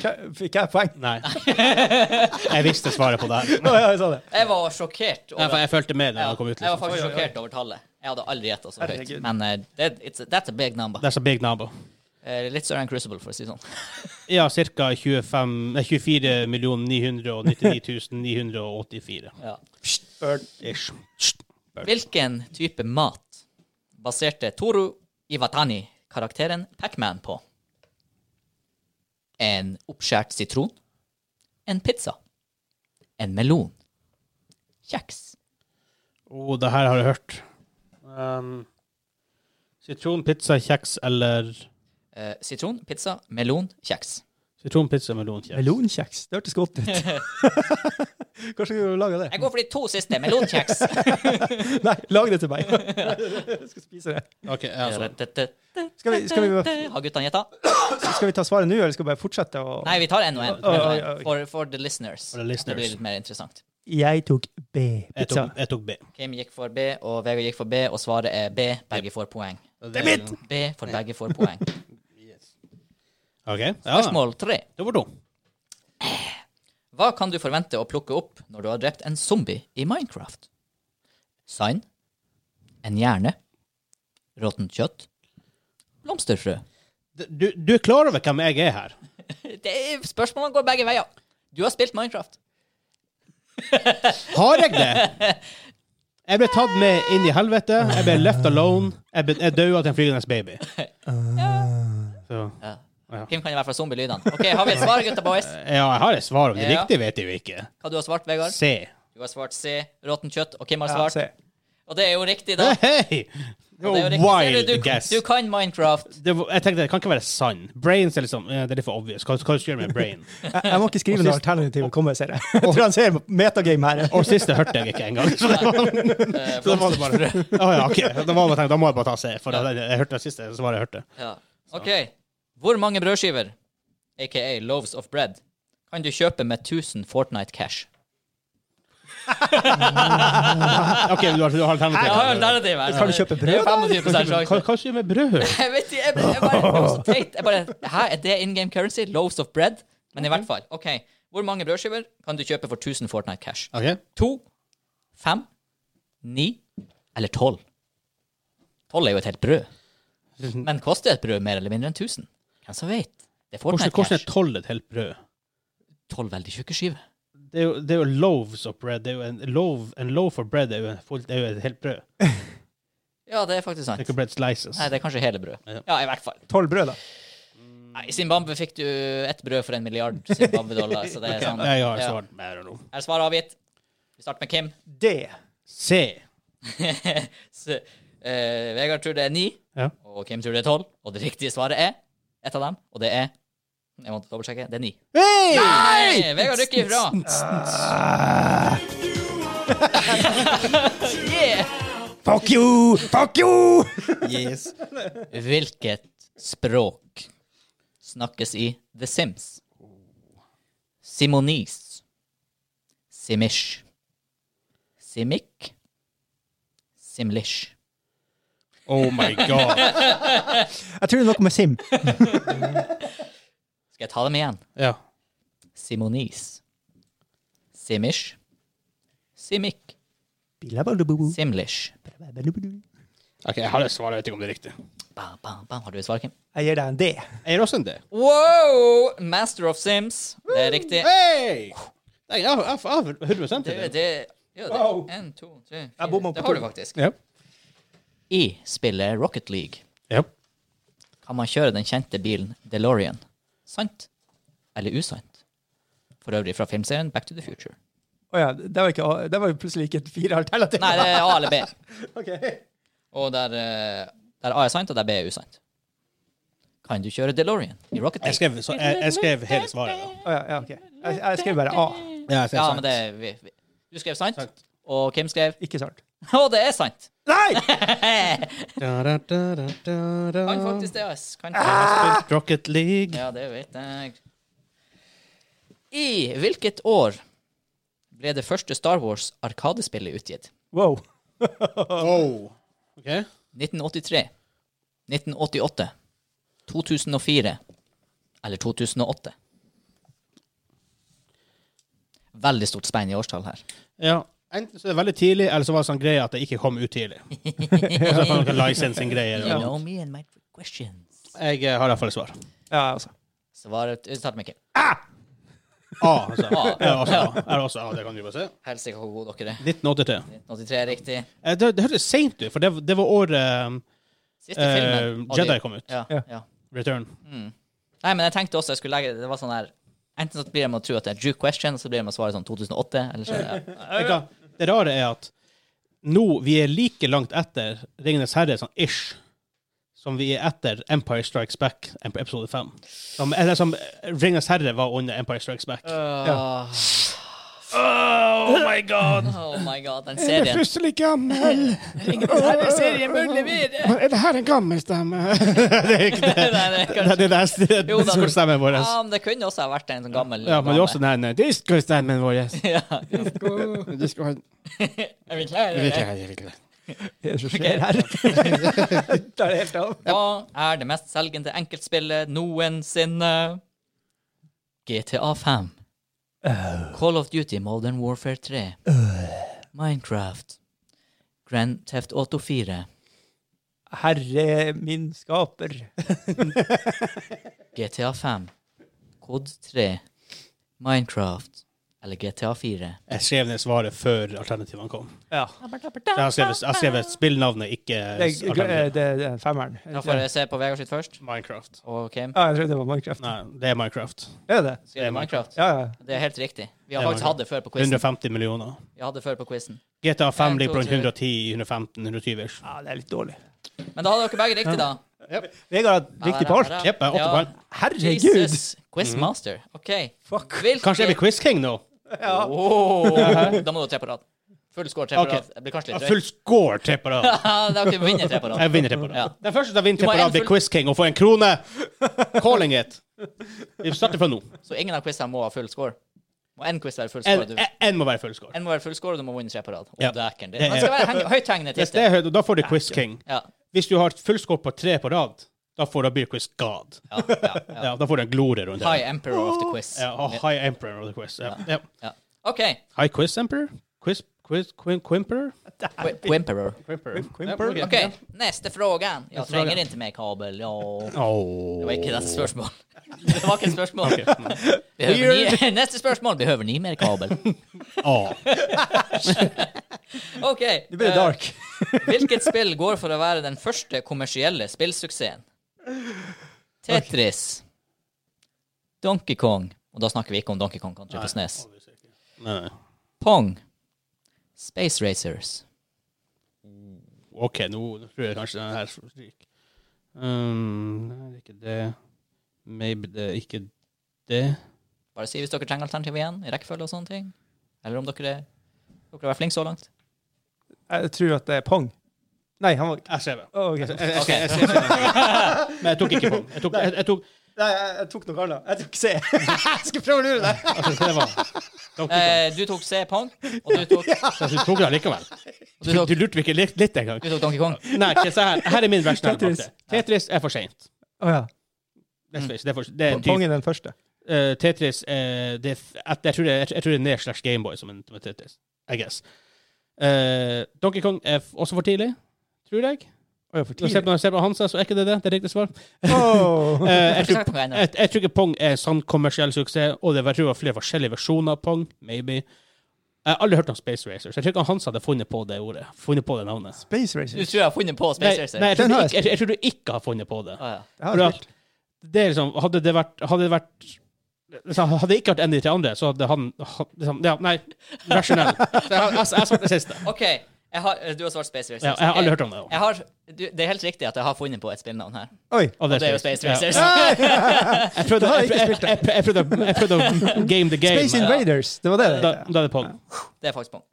Hva- Fikk jeg poeng?
Nei. jeg visste svaret på det her.
Å, ja, jeg sa det.
Jeg var sjokkert
Nei,
over
for jeg fulgte med da
Ja,
det kom ut.
Jeg var
Liksom.
faktisk
Oi, oi, oi.
sjokkert over tallet. Jeg hadde aldri gjetta så høyt.
Herregud.
Men eh, det, it's, that's a big number.
That's a big nabo.
Eh, litt større enn Crucible, for å si det sånn.
Ja, ca. 24 999 984.
Ja.
Burn.
Ish.
Hvilken type mat baserte Toru Iwatani karakteren Pac-Man på? En oppskjært sitron? En pizza? En melon? Kjeks?
Oh, det her har jeg hørt. Um, sitron, pizza, kjeks eller
Eh, sitron, pizza, melon, kjeks.
Sitron, pizza, melonkjeks.
Melonkjeks. Det hørtes godt ut. Kanskje vi lager det?
Jeg går for de to siste. Melonkjeks.
Nei, lag det til meg. Jeg skal spise det.
Ok, ja, sånn.
Skal vi, skal vi,
Har guttene gjetta?
skal vi ta svaret nå, eller skal vi bare fortsette å
Nei, vi tar en og en. en,
Å,
og
å,
en.
ja, ok.
For, for the listeners.
For the listeners.
Det blir litt mer interessant.
Jeg tok B.
Jeg
Pizza.
tok, jeg tok B.
Kim gikk for B, og Vegard gikk for B, og svaret er B. Begge får poeng.
Det er mitt!
B for begge får poeng.
OK. Ja.
Spørsmål tre.
Nummer to.
Hva kan du forvente å plukke opp når du har drept en zombie i Minecraft? Sign. En hjerne. Råttent kjøtt. Blomsterfrø.
Du, du er klar over hvem jeg er her?
Det er, spørsmålene går begge veier. Du har spilt Minecraft.
Har jeg det? Jeg ble tatt med inn i helvete. Jeg ble left alone. Jeg, ble, jeg døde til en flygende baby. Så,
Ja.
Ja.
Kim kan i hvert fall zombielydene. Ok, Har vi et svar, gutta boys?
ja, jeg har et svar. Om det
Ja.
riktige vet jeg jo ikke.
Hva du har svart, Vegard?
C.
Du har svart C. Råttent kjøtt. Og Kim har
Ja,
svart
se.
Og det er jo riktig, da.
Hei!
Og det er jo riktig. Ser
Wild
du, du,
guess.
du kan Minecraft.
Det var, jeg tenkte det kan ikke være sann. Brains er liksom eh, Det er litt for obvious. Hva, hva skal du gjøre med brain?
Jeg, jeg må ikke skrive når alternativet kommer, ser jeg. Jeg tror han ser metagame her.
Og siste hørte jeg ikke engang. Så det var,
Eh,
så det var det bare Å ja, OK. Da, var det bare tenkt, da må jeg bare ta C, for jeg, jeg hørte det siste svaret jeg hørte.
ja. OK. Hvor mange brødskiver, aka loaves of bread, kan du kjøpe med 1000 Fortnite cash?
OK, du har,
Jeg har
du har
jo
alternativ.
alternativ her.
Kan du kjøpe brød,
Det er
da?
25%
Hva,
sjanse.
hva skal du gjøre med brød?
Jeg vet ikke, jeg, ble- jeg bare, det var så teit. Jeg bare, Hæ, er det in game currency? Loaves of bread? Men i hvert fall, OK. Hvor mange brødskiver kan du kjøpe for 1000 Fortnite cash?
OK.
To, fem, ni eller tolv? Tolv er jo et helt brød. Men koster et brød mer eller mindre enn 1000? Hvem som vet? Det er
Hvordan,
Fortnite
hvordan er
Cash.
tolv et helt brød?
Tolv veldig tjukke skiver.
Det er jo, det er jo loaves of bread. Det er jo en, loaf, en loaf of bread er jo, en, full- det er jo et helt brød. Det
Ja, det er faktisk
er
sant.
ikke bread slices.
Nei, det er kanskje hele brød.
Ja.
Ja, i hvert fall.
Tolv brød, da.
Nei, I Zimbabwe fikk du ett brød for en milliard Zimbabwe-dollar, så det er sånn.
Jeg har
Ja.
svart mer enn noe.
Er svaret avgitt? Vi starter med Kim.
D.
C.
Så, eh, Vegard tror det er ni,
Ja.
og Kim tror det er tolv. Og det riktige svaret er ett av dem, og det er Jeg måtte dobbeltsjekke. Det er ni.
Hei!
Hei! Vegard rykker ifra. yeah.
Fuck you! Fuck you!
Yes. Hvilket språk snakkes i The Sims? Simonis. Simish. Simik. Simlish.
Oh my god.
Jeg tror det er noe med Sim.
Skal jeg ta dem igjen?
Ja.
Simonis. Simish. Simik. Simlish.
Jeg
Ok, jeg har et svar, jeg vet ikke om det er riktig.
Bam, bam, bam. Har du et svar, Kim?
gir deg en D.
Jeg gir også en D.
Wow! Master of Sims. Det er riktig.
Mm, Hei! Nei, jeg har 100
Det,
til det.
det, ja, det
Wow.
En, to, tre, fire.
bomma på
Det har
to.
du faktisk.
Ja.
I spillet Rocket League
Ja.
kan man kjøre den kjente bilen DeLorean. Sant eller usant? For øvrig fra filmserien Back to the Future.
Å ja, det var, ikke, A- det var jo plutselig ikke et fire alternativ.
Nei, det er A eller B.
Ok.
Og der, eh, der A er sant, og der B er usant. Kan du kjøre DeLorean i Rocket
Jeg
League?
skrev, så, jeg, jeg skrev hele svaret. da.
Å ja, ja, ok. Jeg, jeg skrev bare A.
Ja, jeg skrev
Ja,
sant.
men det vi, vi. Du skrev sant, og Kim skrev
Ikke sant.
Å, det er sant!
Nei!
Da, da, da, da, da, da.
Kan faktisk det, ass. Kan
Spilt Rocket League.
Ja, det vet jeg. I hvilket år ble det første Star Wars Arkadespillet utgitt?
Wow.
Oh. Ok.
1983, 1988, 2004 eller 2008? Veldig stort spenn i årstall her.
Ja. Enten så er det veldig tidlig, eller så var det sånn greie at det ikke kom ut tidlig. Og så er det noen licensing-greier.
You know me and my questions.
Jeg eh, har i hvert fall et svar.
Ja, altså.
Svaret Uttalt meg ikke.
A. Altså.
A.
Ja, altså, A. Er det også A, det kan du bare se.
Helsike, hvor gode dere er.
1983.
1983 er riktig.
Eh, Det, det hørtes seint ut, for det, det var året
Siste
eh,
filmen.
Jedi kom ut.
Ja, Mm.
Ja.
ja.
Return.
Nei, men jeg tenkte også jeg skulle legge Det var sånn her Enten så blir de å tro at det er Drew question, og så blir de å svare sånn 2008, eller så ja.
Vet du hva? Det rare er at nå vi er like langt etter Ringenes herre sånn ish som vi er etter Empire Strikes Back em- episode 5. Som, eller som eh, Ringenes herre var under Empire Strikes Back.
Øh.
Oh my god!
Oh my god, den serien.
plutselig gammel?
Denne serien burde levere!
Er det her en gammel stemme? det er ikke det.
Nei, nei,
Det er det der st-
Jo da, men-
solstemmen vår. altså.
Ja, men det kunne også ha vært en sånn gammel
Ja, men det er også
dame.
den eh, disco-stemmen vår.
Ja. Eh, Er vi klare? eller?
Hva er det som skjer her? Tar det helt av.
Hva er det mest selgende enkeltspillet noensinne? GTA 5. Call of Duty Modern Warfare 3.
Øh.
Minecraft. Grand Theft Auto 4.
Herre min skaper.
GTA 5, Kod 3, Minecraft eller GTA 4.
Jeg skrev ned svaret før alternativene kom.
Ja.
Jeg har skrevet, jeg har skrevet spillnavnet, ikke
Det, er- eh, det,
alternativet.
det det er femmeren.
Da får jeg se på Vegard sitt først.
Minecraft.
Og Kim.
Ja, jeg trodde det var Minecraft.
Nei, det er Minecraft.
Er det det?
Sier du Minecraft?
Ja, ja.
Det er helt riktig. Vi
Det
har
er
faktisk
Minecraft.
hatt det før på quizen.
150 millioner.
Vi hadde det før på quizen.
GTA 5 ligger på rundt
Jeg tror
110, 115, 120 ish.
Ja, det er litt dårlig.
Men da hadde dere begge riktig, da.
Vegard har riktig på alt.
Jepp, jeg er åtte
Ja.
poeng.
Herregud!
Jesus! Quizmaster. OK.
Fuck.
Hvilket-
Mhm. Kanskje er vi Quiz King nå?
Åh, Da må du ha tre på rad. Full score, tre på
Ok.
rad. Det blir kanskje
Ja,
litt
Full
drøyt.
score, tre på rad.
Da kan vi vinne tre på rad.
Jeg vinner tre på
Ja.
rad. Den første som vinner tre
må
på
ha
rad,
en
blir
full-
Quiz King og får en krone. Calling it. Vi starter fra nå.
Så ingen av quizene må ha full score. Må én quiz være full
En,
score. Du,
en- en må være full score.
en må være full score, og du må vinne tre på rad. Å,
Ja.
dæken. Det
Det er-
man skal være heng- høythengende
Hvis det
tittel.
er høyt, da får du Quiz King.
Ja.
Hvis du har full score på tre på rad, da får du bli Quiz God.
Ja, ja, ja.
Ja, da får du en glorie rundt det.
High Emperor of the Quiz.
Ja, og High Emperor of the Quiz. Ja. Ja.
Ja. OK.
High Quiz Emperor? Quiz, quiz, quim, quimper?
Qu- Quimperor.
Quimper.
Quimper.
Ja, ok.
OK, neste fråga. Jeg
fråga.
trenger ikke mer kabel. Ja.
Åh.
Det var ikke et spørsmål. Det var ikke et spørsmål.
Ok.
Behøver ni, neste spørsmål. Behøver ni mer kabel?
Åh.
OK.
Nå blir det
eh,
dark.
hvilket spill går for å være den første kommersielle spillsuksessen? Tetris. Donkey Kong. Og da snakker vi ikke om Donkey Kong Country på Snes.
Nei, nei.
Pong. Space Racers.
Ok, nå tror jeg kanskje den her ryker. Um, nei, det er ikke det. Maybe det er ikke Det
Bare si hvis dere trenger alternativ igjen, i rekkefølge og sånne ting. Eller om dere, er- dere har vært flinke så langt.
Eh, Jeg tror at det er pong. Nei, han var
Jeg ser det.
Å, ok.
Jeg, jeg, jeg,
Ok.
jeg, jeg, men jeg tok ikke på den. Jeg tok, jeg, jeg tok,
Nei, jeg, jeg tok noe annet. Jeg tok C. jeg skal prøve å lure deg.
altså, det var, jeg tok ikke den.
Eh, du tok C, Pong, og du tok,
Så du tok den likevel.
du tok,
Du lurte meg ikke litt, litt engang.
du tok Donkey Kong.
Nei, ikke se her. Her er min versjonale
Tetris.
bakte. Tetris er for seint.
Å ja.
Det er for sent. Det er en
Pong
type-
er den første.
eh, Tetris eh, det er, f- at- jeg, tror det, jeg, tror- jeg tror det er ned slash Gameboy som en som en Tetris. I guess. Eh, Donkey Kong er f- også for tidlig, tror jeg.
Å ja, for
Når jeg ser på,
tidlig.
når jeg ser på Hansa, så er ikke det det. Det er riktig svar.
Åh.
Eh, jeg,
Ikke
tror,
sagt noe ennå.
jeg, jeg tror ikke Pong er en sann kommersiell suksess, og det var, jeg tror det var flere forskjellige versjoner av Pong, maybe. Jeg har aldri hørt om Space Racer, så jeg tror ikke han Hans hadde funnet på det ordet. Funnet på det navnet.
Space
Du
Racer.
tror jeg har funnet på
Nei,
Space Racer?
nei jeg, tror du
Den har jeg
ikke, jeg, jeg tror du ikke har funnet på det.
Å, ja.
Det har
Bra.
jeg spilt.
Det er liksom, hadde det vært Hadde det vært liksom, Hadde det ikke vært en av de tre andre, så hadde han ha- liksom, Ja, nei, rasjonell. Så Jeg, jeg, jeg svarte siste.
OK, jeg har, du har svart Space Racers.
Ja, jeg har aldri
Ok.
hørt om det.
Jeg har, du, det er helt riktig at jeg har funnet på et spillnavn her.
Oi.
Og
Det er jo Space
Ja.
Racers.
Jeg prøvde,
Da har
jeg,
jeg
jeg,
ikke
jeg, jeg, prøvde, å- jeg prøvde å game the game.
Space Invaders. Det var det.
Da, da er det Pong.
Det er faktisk Pong.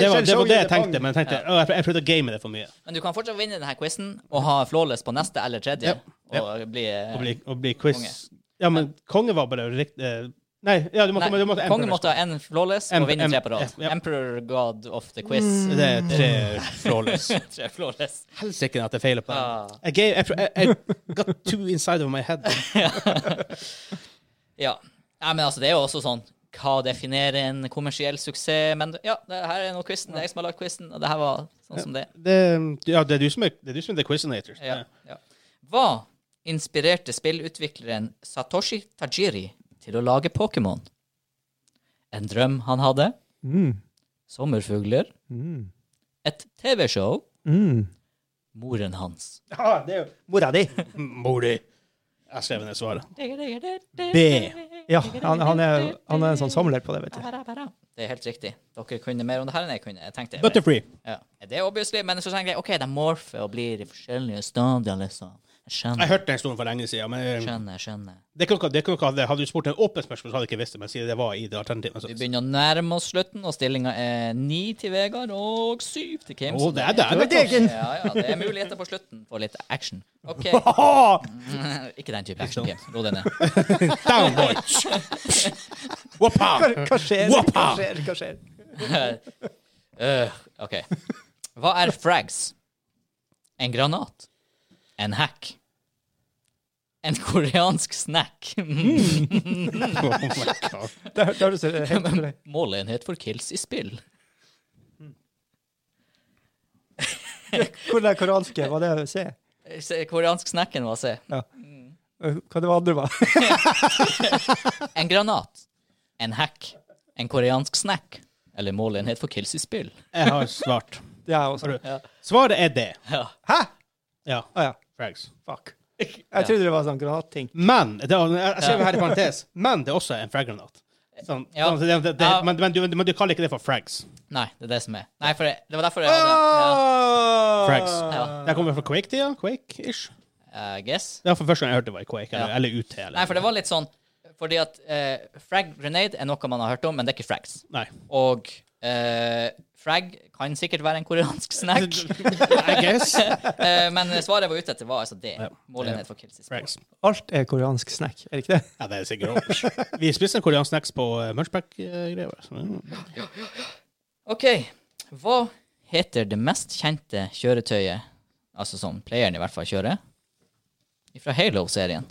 Det var, det var det jeg tenkte, men jeg, tenkte, å, jeg, jeg prøvde å game det for mye.
Men du kan fortsatt vinne denne quizen og ha flawless på neste eller tredje.
Ja,
Og bli, eh,
Å bli, å bli quiz Ja, men konge var bare riktig eh, Nei, ja, du måtte,
Nei,
du måtte
kongen måtte ha én flawless
Emperor-
og vinne tre på rad.
Em- ja.
Emperor god of the quiz.
Det er tre flawless.
tre flawless.
Helsike at jeg feiler på den.
Ah.
Jeg, gave, jeg, jeg, jeg got two inside of my head.
Ja. Nei, men altså, det er jo også sånn Hva definerer en kommersiell suksess? Men ja, det her er nå quizen. Det er jeg som har lagd quizen, og det her var sånn som det.
Det, ja, det er du som er, det er, du som er the quizinator.
Ja, ja. Hva inspirerte spillutvikleren Satoshi Tajiri til å lage Pokémon? En drøm han hadde?
Mm.
Sommerfugler?
Mm.
Et TV-show?
Mm.
Moren hans.
Ja, det er jo mora di.
Mori. Jeg skrev ned svaret.
Det
B. Ja, han, han, er, han er en sånn samler på det, vet du.
er helt riktig. Dere kunne mer om det her enn jeg kunne. Jeg tenkte,
Butterfree.
ja. Det er obviously, men så tenker jeg OK, de morfer og blir i forskjellige stadier, liksom. Jeg
Jeg
skjønner,
hørte den stolen for lenge siden. Men eh,
skjønner, skjønner.
det kan, ikke- det kan, ikke ha det. hadde du spurt en åpen spørsmål, så hadde jeg ikke visst det. Men siden det altså. var i det alternativet. Så.
Vi begynner å nærme oss slutten, og stillinga er ni til Vegard og syv til Kim.
Å,
så
det er der.
Men det er ikke-
Ja, ja, det er muligheter på slutten for litt action. OK.
Haha!
Ikke den type action, Kim. Ro deg ned.
Down, boy! Woppa!
Hva, hva skjer?
Wappa!
Hva skjer? Hva skjer?
Øh, OK. Hva er frags? En granat? En hack? En koreansk snack?
Oh my God.
Det det høres helt ut.
Måleenhet for kills i spill.
Hvor er det koranske? Var det C?
Se, Koreansk snacken, hva se.
Ja. Hva det var andre var?
En granat? En hack? En koreansk snack? Eller måleenhet for kills i spill?
Jeg har svart.
Det er også.
Svaret er det.
Ja.
Hæ?
Ja.
Å ja.
Frags.
Fuck. Jeg trodde det var sånn granatting.
Men det, er- Jeg skrev her i parentes. Men det er også en fraggranat. Sånn,
Ja.
sånn, det, det, det,
Ja.
men, men, du, men du kaller ikke det for frags.
Nei, det er det som er. Nei, for det, det var derfor jeg hadde
Frags.
Frags.
ja.
Det her kommer fra Quake-tida. Quake-ish.
ja, I guess.
Det var for første gang jeg hørte det var i Quake. Eller,
Ja.
eller UT. Eller.
Nei, for det var litt sånn Fordi at eh, frag grenade er noe man har hørt om, men det er ikke frags.
Nei.
Og eh, frag kan sikkert være en koreansk snack,
I guess.
eh, men svaret jeg var ute etter, var altså det.
Ja.
Målenhet for kills i spill.
Frags.
Alt er koreansk snack, er det ikke det?
Ja, det er sikkert også. Vi spiste en koreansk snacks på uh, Munchback-greier. mm,
OK. Hva heter det mest kjente kjøretøyet, altså som playeren i hvert fall kjører, fra Halo-serien?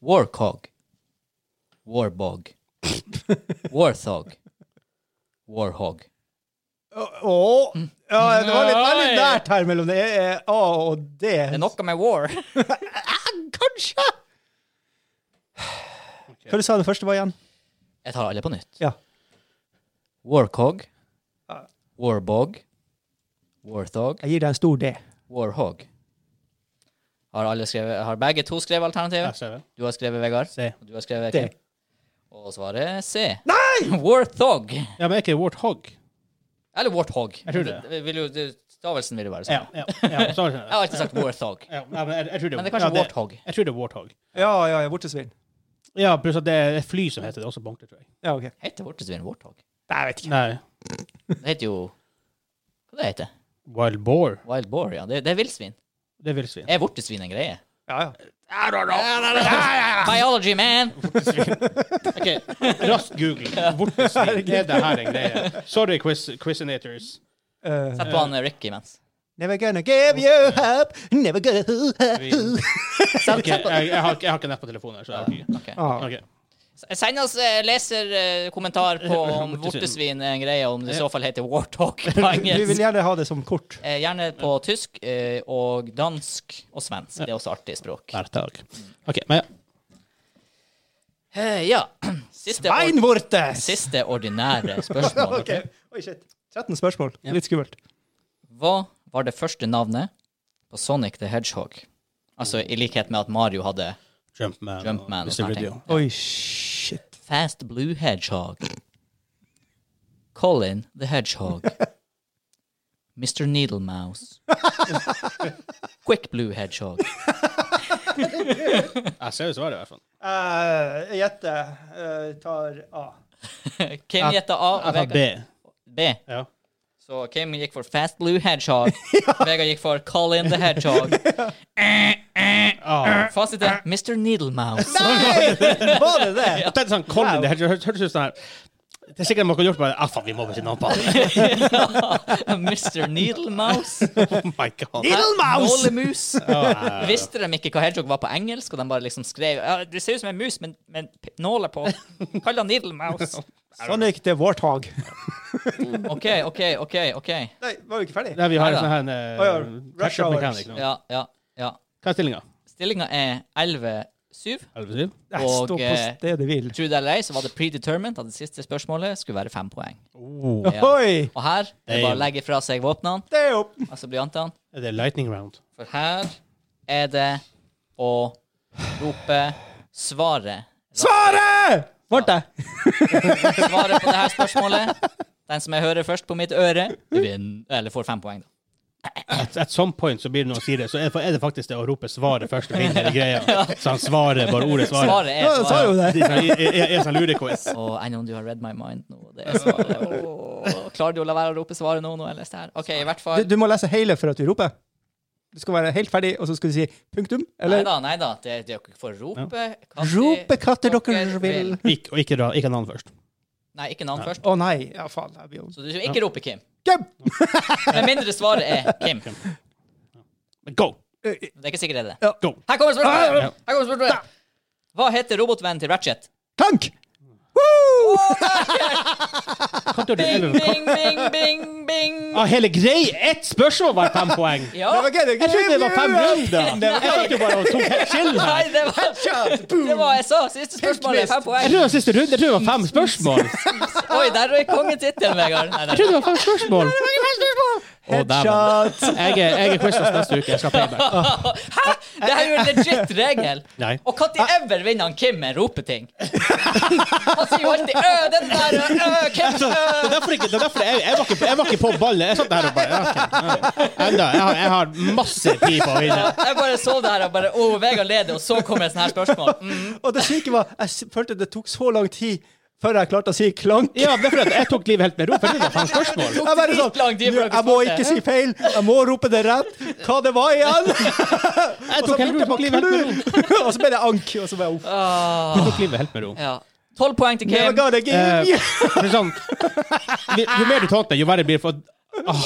Warcog. Warbog. Warthog. Warhog.
Åh,
Mm.
ja, det var litt veldig nært her mellom det eh, A og D.
Det er noe med war.
Kanskje! Hva du sa den første var igjen?
Jeg tar alle på nytt.
Ja.
Warcog.
Ja.
Warbog. Warthog.
Jeg gir deg en stor D.
Warhog. Har, alle skrevet, har begge to skrevet alternativet? Du har skrevet Vegard.
Se.
Og du har skrevet
D.
Kim. Og svaret er C. Nei! Warthog.
Ja, men er ikke Warthog?
Eller Warthog.
Jeg tror det.
Vil jo, du Stavelsen vil jo være
Ja,
sånn.
ja, ja, så,
Jeg har alltid sagt Warthog.
ja, nei, men jeg, jeg tror det,
Men det er kanskje
ja,
Warthog.
Jeg tror det er Warthog.
Ja, ja, ja, vortesvin.
Ja, pluss at det er et fly som heter det også på ordentlig, tror jeg.
Ja, ok.
Heter vortesvin Warthog?
Nei, jeg vet ikke.
Nei.
Det heter jo Hva det heter
Wild Boar.
Wild boar, ja. Det, det er villsvin.
Det er villsvin.
Er vortesvin en greie?
Ja, ja.
Biology, man!
Ok, Raskt google. Vortesvin. Er det her en greie? Sorry, quiz, quizinators.
Uh,
Sett på han eh, Ricky imens.
never gonna give you up, never gonna
Vi- Ok, jeg, jeg, har, ikke- jeg har ikke nett på telefonen. her, så jeg har ikke.
Ok.
ah.
Ok.
S- Send oss eh, leserkommentar på om vortesvin er en greie, om det i så fall heter warthog på
Vi vil
engelsk.
gjerne ha det som kort.
Eh, Gjerne på tysk eh, og dansk og svensk. Det er også artig språk.
Hver dag. Ok, men ja.
Eh, Ja. Siste, or
Beinvorte!
siste ordinære spørsmål.
Ok. Oi, shit. 13 spørsmål. Litt skummelt.
Hva var det første navnet på Sonic the Hedgehog? Altså i likhet med at Mario hadde
Jumpman.
Jumpman og
og
sånne ting.
Mr. Video.
Oi, shit.
Fast Blue Hedgehog. Colin the Hedgehog. Mr. Needle Mouse. Quick Blue Hedgehog.
Jeg ser jo svaret, i hvert fall.
Uh, Gjette Eh, tar A.
Kim gjetta A og
Jeg tar B.
Vegard B.
Ja.
Så Kim gikk for Fast Blue Hedgehog. Vegard gikk for Colin the Hedgehog. Eh,
Ah.
Fasit er Mr. Needle Mouse.
Var det det?
Jeg tenkte sånn, Colin, det hørtes hørtes ut sånn her Det er sikkert noe gjort bare Ah, faen, vi må bare si navn på han.
Mr. Needle Mouse.
Oh my god.
Needle Mouse!
Nålemus. Visste de ikke hva hedgehog var på engelsk, og de bare liksom skrev ja, Det ser ut som en mus, men med nåler på. Kall den Needle Mouse.
Sonic the Warthog.
OK, OK, OK. ok.
Nei, var vi ikke ferdig?
Nei, vi har en
Neida.
sånn her en,
Å ja,
eh,
Rush
ketchup
Hours.
mechanic nå.
Ja, ja, ja.
Hva er stillinga?
Stillinga er 11-7.
Jeg
Og,
står på
eh,
stedet hvil.
Tro det eller ei, så var det predetermined at det siste spørsmålet skulle være fem poeng.
Oh.
Ja.
Oi!
Og her det er det bare å
Damn.
legge fra seg våpnene
Det er opp.
og så blyantene.
Er det lightning round?
For her er det å rope svaret.
Svaret! Ble det?
Svaret på det her spørsmålet. Den som jeg hører først på mitt øre, vinner. Eller får fem poeng, da.
At, at some point så blir det noen sier det, så er det, er det faktisk det å rope svaret først. og vinne hele greia. Så han svarer bare ordet svaret.
Svaret er
Ja, jeg sa
svaret.
jo det.
Det er sånn- er- er- er sånn lurequiz.
Og enn om du har read my mind nå, det er svaret. Åh, klarer du å la være å rope svaret nå, nå jeg leste her? OK, i hvert fall.
Du, du må lese hele for at du roper. Du skal være helt ferdig, og så skal du si punktum.
Nei
Eller
da, nei da. Det, det er dere får rope. katter-
rope katter dere vil.
Ikke, og ikke, dra- ikke navn først.
Nei, ikke navn først.
Å nei. Ja, faen. Jeg blir jo
Så du skal ikke rope Kim.
Kim!
Med mindre svaret er Kim. Det
Men Go!
er ikke sikkert det er det.
Go!
Her kommer spørsmålet!
Ja.
Her kommer spørsmålet. Hva heter robotvennen til Ratchet?
Tank! Woo!
Kan du gjøre det
Bing,
elleve?
bing,
Kan-
bing, bing, bing.
Ah, hele greia! Ett spørsmål var fem poeng!
Ja.
Det var gøy, det.
Jeg trodde det var fem
Det
runder!
var-
Jeg satt jo bare og tok helt chill
Nei,
her.
det var Det var jeg sa. Siste spørsmål er fem
Jeg
poeng.
trodde det var siste runde. Jeg trodde det var fem spørsmål.
Oi, der røyk kongetittelen, Vegard. Nei,
Jeg
nei.
trodde det var fem spørsmål. Å, dæven.
Headshot!
Jeg er, jeg er quizmaster neste uke. Jeg skal ha payback.
Hæ? Det her er jo en legit regel.
Nei.
Og når ever vinner han Kim en ropeting? Han sier jo alltid 'Ø, den der, ø, Kim, ø'.
Det er derfor, ikke, det er derfor jeg, jeg, var ikke, jeg var ikke på ballen. Jeg satt der og bare ja, ok, ja. Enda, jeg, har, jeg har masse tid på å vinne.
Jeg bare så det her og bare Å, Vegard leder, og så kommer et sånt her spørsmål. Mm.
Og det syke var, jeg s- følte det tok så lang tid før jeg klarte å si klank.
Ja, det er fordi at jeg tok livet helt med ro. For det var fem spørsmål.
tok
Jeg bare sånn,
dritlang tid før
«Nå,
dere
jeg må
svarte».
ikke si feil, jeg må rope det rett. Hva det var igjen?
Jeg
Og så
tok, helt,
begynte jeg
tok
på
livet helt med ro.
klu, og så ble det ank. Og så ble jeg off.
Ah,
Jeg tok livet helt med ro.
ja. Tolv poeng til
Never
Kim.
gonna give
Eh,
you-
men sånn, vi- jo mer du talte, jo verre blir det. For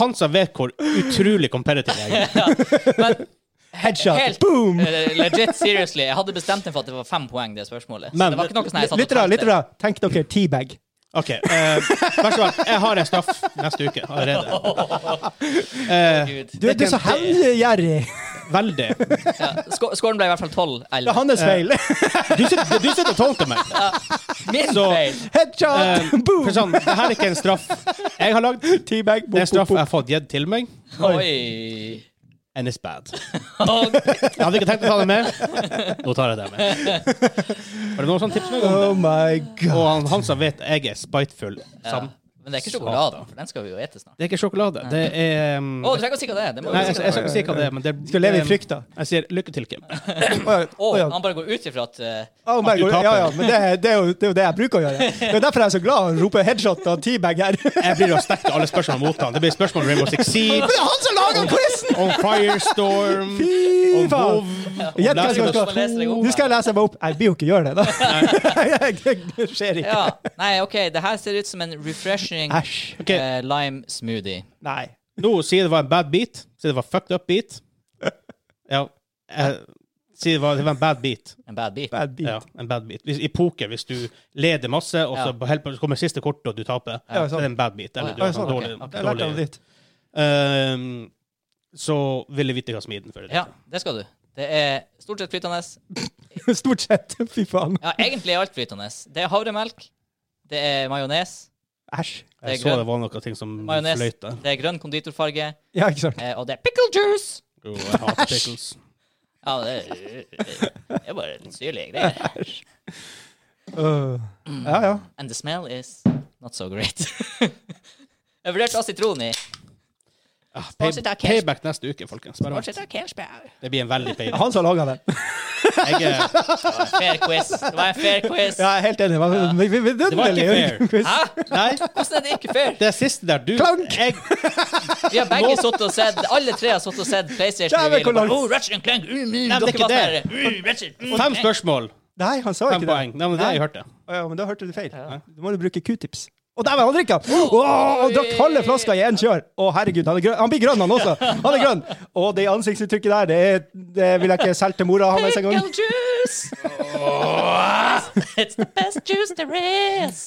han som vet hvor utrolig competitive jeg er.
Men
Headshot.
helt-
Boom!
eh, legit, seriously, jeg hadde bestemt meg for at det var fem poeng, det spørsmålet. Så
Men-
det var ikke noe sånn jeg satt og
Lyttere,
tenkte.
lyttere, tenk dere teabag.
OK. eh, vær så snill, jeg har en straff neste uke allerede. Eh,
Gud.
Du, du er så hevngjerrig.
veldig.
Ja. Sk- Skåren ble i hvert fall tolv.
Det er
Eh,
hans feil.
Du sitter, du sitter og tolker meg.
Min
så-
feil.
Headshot!
Eh,
Boom!
for sånn, det her er ikke en straff jeg har lagd.
Teabag.
Det er en straff jeg
boom,
har fått gitt til meg,
Oi.
and it's bad. Jeg
Og
hadde ikke tenkt å ta det med. Nå tar jeg det med. Har du noen sånne tips?
boom.
Med?
Oh my god.
Og han, han som vet jeg er spiteful, sam,
Men det er ikke sjokoladen, for den skal vi jo ete snart.
Det er ikke sjokolade. Det er um,
Å, du trenger ikke å si hva det er. Det må
Nei,
du
jeg,
si.
jeg skal ikke si hva det er, men det
Skal leve i frykta.
Jeg sier lykke til, Kim.
Å,
Å,
ja.
han bare går ut ifra at eh,
Oh,
At du taper.
ja, ja, men det, er- det, er jo, det er jo det jeg bruker å gjøre. Det er jo derfor jeg er så glad og roper headshot og teabag her. Men
Jeg blir å stekke alle spørsmål mot han. Det blir spørsmål om Rainbow Six Siege,
det er han som lager quizen!
om Firestorm,
Fy
om
faen!
WoW
Gjett
Last
hva
of
som
Us
Må lese deg
skal
opp.
Nå skal jeg lese meg opp. Jeg blir jo ikke gjøre det, da. Det skjer ikke.
Ja. Nei, OK, det her ser ut som en refreshing
Æsj.
Ok.
eh, lime smoothie.
Nei.
Nå sier det var en bad beat. Sier det var fucked up beat. Ja. Jeg, sier det var, det var en bad beat.
En bad beat.
Bad beat.
Ja, en bad beat. Hvis, I poker, hvis du leder masse, og så,
Ja.
på helt, på- så kommer siste kortet, og du taper,
Ja,
så
sånn.
er det en bad beat.
Å,
Eller du
ja.
har
Ja,
sånn
ok.
dårlig,
Jeg lærte av
dårlig.
ditt.
Ehm, Så vil jeg vite hva som er i den. før jeg-
Ja, det skal du. Det er stort sett flytende.
Stort sett. Fy faen.
Ja, egentlig er alt flytende. Det er havremelk, det er majones,
Æsj.
det
Jeg
er
så det
grønn
var noen ting som
majones,
fløyt der.
det er grønn konditorfarge,
Ja, ikke sant.
eh, og det er pickle juice!
Jo, jeg hater pickles.
Ja, det er, det er bare litt syrlige greier.
Øh. ja, ja.
And the smell is not so great. Jeg vurderte å ha sitron i.
Ah, pay,
Sponsor takk, Cash.
payback neste uke, folkens. Bare vent.
Fortsett å ha cashback.
Det blir en veldig payback.
Han som laga den.
Jeg, eh, er-
Fair quiz. Det var en fair quiz.
Ja, jeg er helt enig. Men, men, men, men,
det var ikke fair.
Hæ?
Nei,
Hvordan er det ikke fair?
det siste der du
Klank!
Jeg,
Vi har begge sittet og sett Alle tre har sittet og sett PlayStation.
Dæven,
reveal, og bare,
hvor langt-
Oh, Ratchet and Clank. Mm, mm,
Nei, men
dere
det er ikke
var
det.
sånn her, mm, Ratchet, mm,
fem
Clank.
spørsmål,
Nei, han sa
fem
ikke det.
poeng. Nei, men det har jeg hørt det.
Å Ja, men da hørte du feil. Da må du bruke q-tips. Og der var han drikka! Åh, og drakk halve flaska i én kjør! Å, herregud, han, er grønn. han blir grønn, han også! Han er grønn! Og det ansiktsuttrykket der, det, er, det vil jeg ikke selge til mora hans engang.
Pickle juice! It's the best juice there is!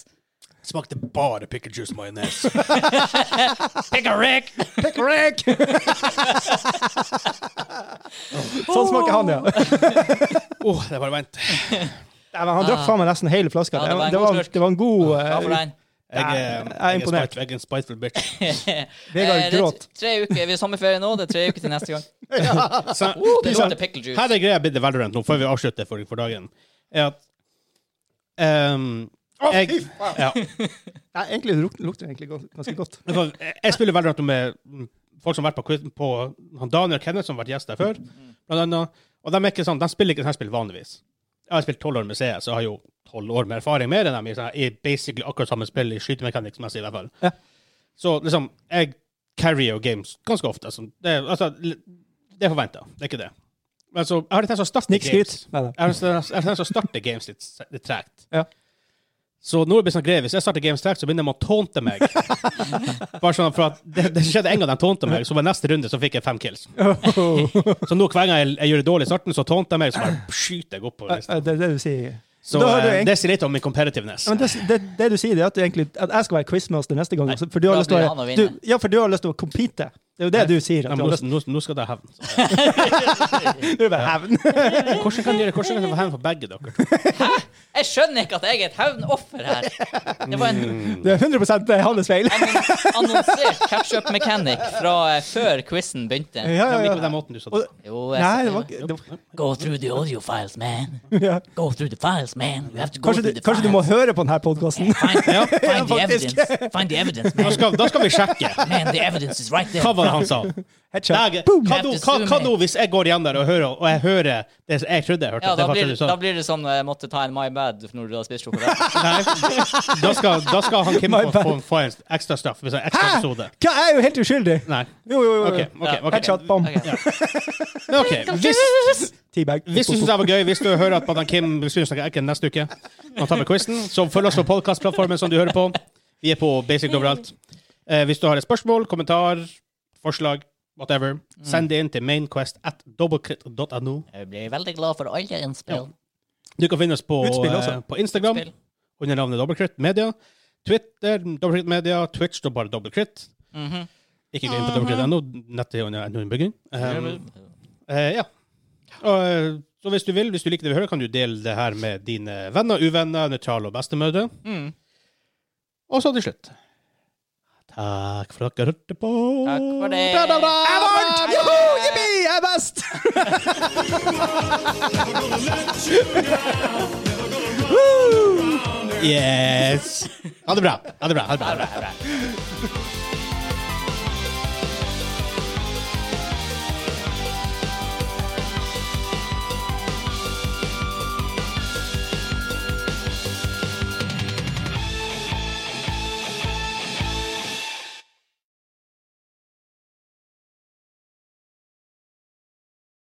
Smakte bare pickle juice majones.
Pickle Rick!
Pick Rick! sånn smaker han, ja. Nei,
Oh, det var vent.
men han drakk faen meg nesten hele flaska.
Ja, det
det,
var en
det,
god
var,
slurk.
det var en god
Hva for
eh,
den?
Jeg,
Nei,
eh,
jeg er imponert.
spite- Jeg er en spiteful bitch.
Vegard
Eh, det er
gråt.
t- Tre uker. Vi har sommerferie nå. Det er tre uker til neste gang.
Så,
Oh, det
så-
låter pickle juice.
her er greia med The Valorant nå, før vi avslutter for, for dagen, er at ehm, jeg, ja,
Nei, egentlig luk- lukter det egentlig godt- ganske godt.
Men for- jeg- jeg spiller Valorant med folk som har vært på, quiz- på han Daniel Kenneth, som har vært gjest der før. Blant annet, og de, er ikke sånn, de spiller ikke sånn her spill vanligvis. Jeg har spilt tolv år med CS, så jeg har jo tolv år med erfaring med dem i, sånn her- i basically akkurat samme spill, i skytemekanikkmessig i hvert fall.
Ja.
Så liksom, jeg carrier jo games ganske ofte. Så det, er- altså, det er forventa, det er ikke det. Men altså, jeg har en tendens til å starte games.
Snikskryt. Nei, nei.
Jeg har en tendens- jeg har en tendens til å starte games litt, s- litt tregt.
Ja.
Så når det blir sånn greie, hvis jeg starter Games Track, så begynner de å tånte meg. Bare sånn, for at det, det skjedde en gang de tånte meg, så var neste runde så fikk jeg fem kills. Så nå hver gang jeg, jeg gjør det dårlig i starten, så tånter jeg meg, så bare skyter jeg opp på listen.
Ja, Det er det du sier.
Så
Da har du
eh,
egentlig-
det sier litt om min competitiveness.
Men det, det, det du sier, det er at, du egentlig, at jeg skal være quizmaster neste gang. for du har
da
lyst til
blir
å,
han å vinne.
du, ja, for du har lyst til å compete. Det er jo det du sier.
Ja,
At du
men
har
nå,
lyst
nå, nå skal det hevn. Så,
til å være hevn.
eh, Hvordan kan dere hvordan kan jeg få hevn for begge dere?
Jeg skjønner ikke at jeg er et hevnoffer her. Det var en
Det er 100 hans feil.
annonsert catch-up mechanic fra eh, før quizen begynte.
Ja,
Ja, men
ja,
ikke på
ja.
den måten du sa
Og-
det.
Jo, jeg
Nei,
sa-
det var ikke det var,
Go through the audio files, man.
ja.
Go through the files, man. You have to go
kanskje,
through
du,
the
kanskje du må
files.
høre på denne podkasten?
Find, find the
faktisk.
evidence. Find the evidence,
Da
man.
skal, da skal vi sjekke.
Man, the evidence is right there.
Hva var det han sa? Nei,
Headshot. Boom!
hva nå- hva- hva nå hvis jeg går igjen der og hører, og jeg hører det jeg trodde jeg hørte?
Ja,
at det
da
var det
blir,
du sa?
da blir det som når jeg måtte ta en My Bad når du hadde spist sjokolade.
Nei, da skal, da skal han Kim
My
få,
bad.
få, få en ekstra straff. Hvis det er ekstra
Hæ?
episode.
Hva, jeg er jo helt uskyldig!
Nei.
Jo, jo, jo.
OK.
jo.
ok, ok.
Headshot, bam.
Ok.
Men ok, Hvis,
Teabag.
hvis du syns det var gøy, hvis du hører at Madam Kim synes det er ikke neste uke, man tar med quizen, så følg oss på podkastplattformen som du hører på. Vi er på basic overalt. Eh, hvis du har et spørsmål, kommentar, forslag, whatever, send det inn til mainquest at doublecrit.no.
Jeg blir veldig glad for alle innspill.
Du kan finne oss på,
Utspill også.
eh, på Instagram
Spill.
under navnet Dobbeltkritt Media. Twitter Dobbeltkritt Media. Twitch står bare Dobbeltkritt.
Mhm.
Ikke gå inn på dobbeltkritt.no. Nettet er under NO-innbygging. ja. Og, eh, så hvis du vil, hvis du liker det vi hører, kan du dele det her med dine venner, uvenner, nøytrale og bestemødre.
Mm.
Og så til slutt Takk for at dere hørte på.
Takk for det.
Da, da, da.
Jeg vant! Joho! Jippi! Jeg er best! Woo!
Yes! Ha det bra. Ha det bra. Ha det bra.
Bra, bra.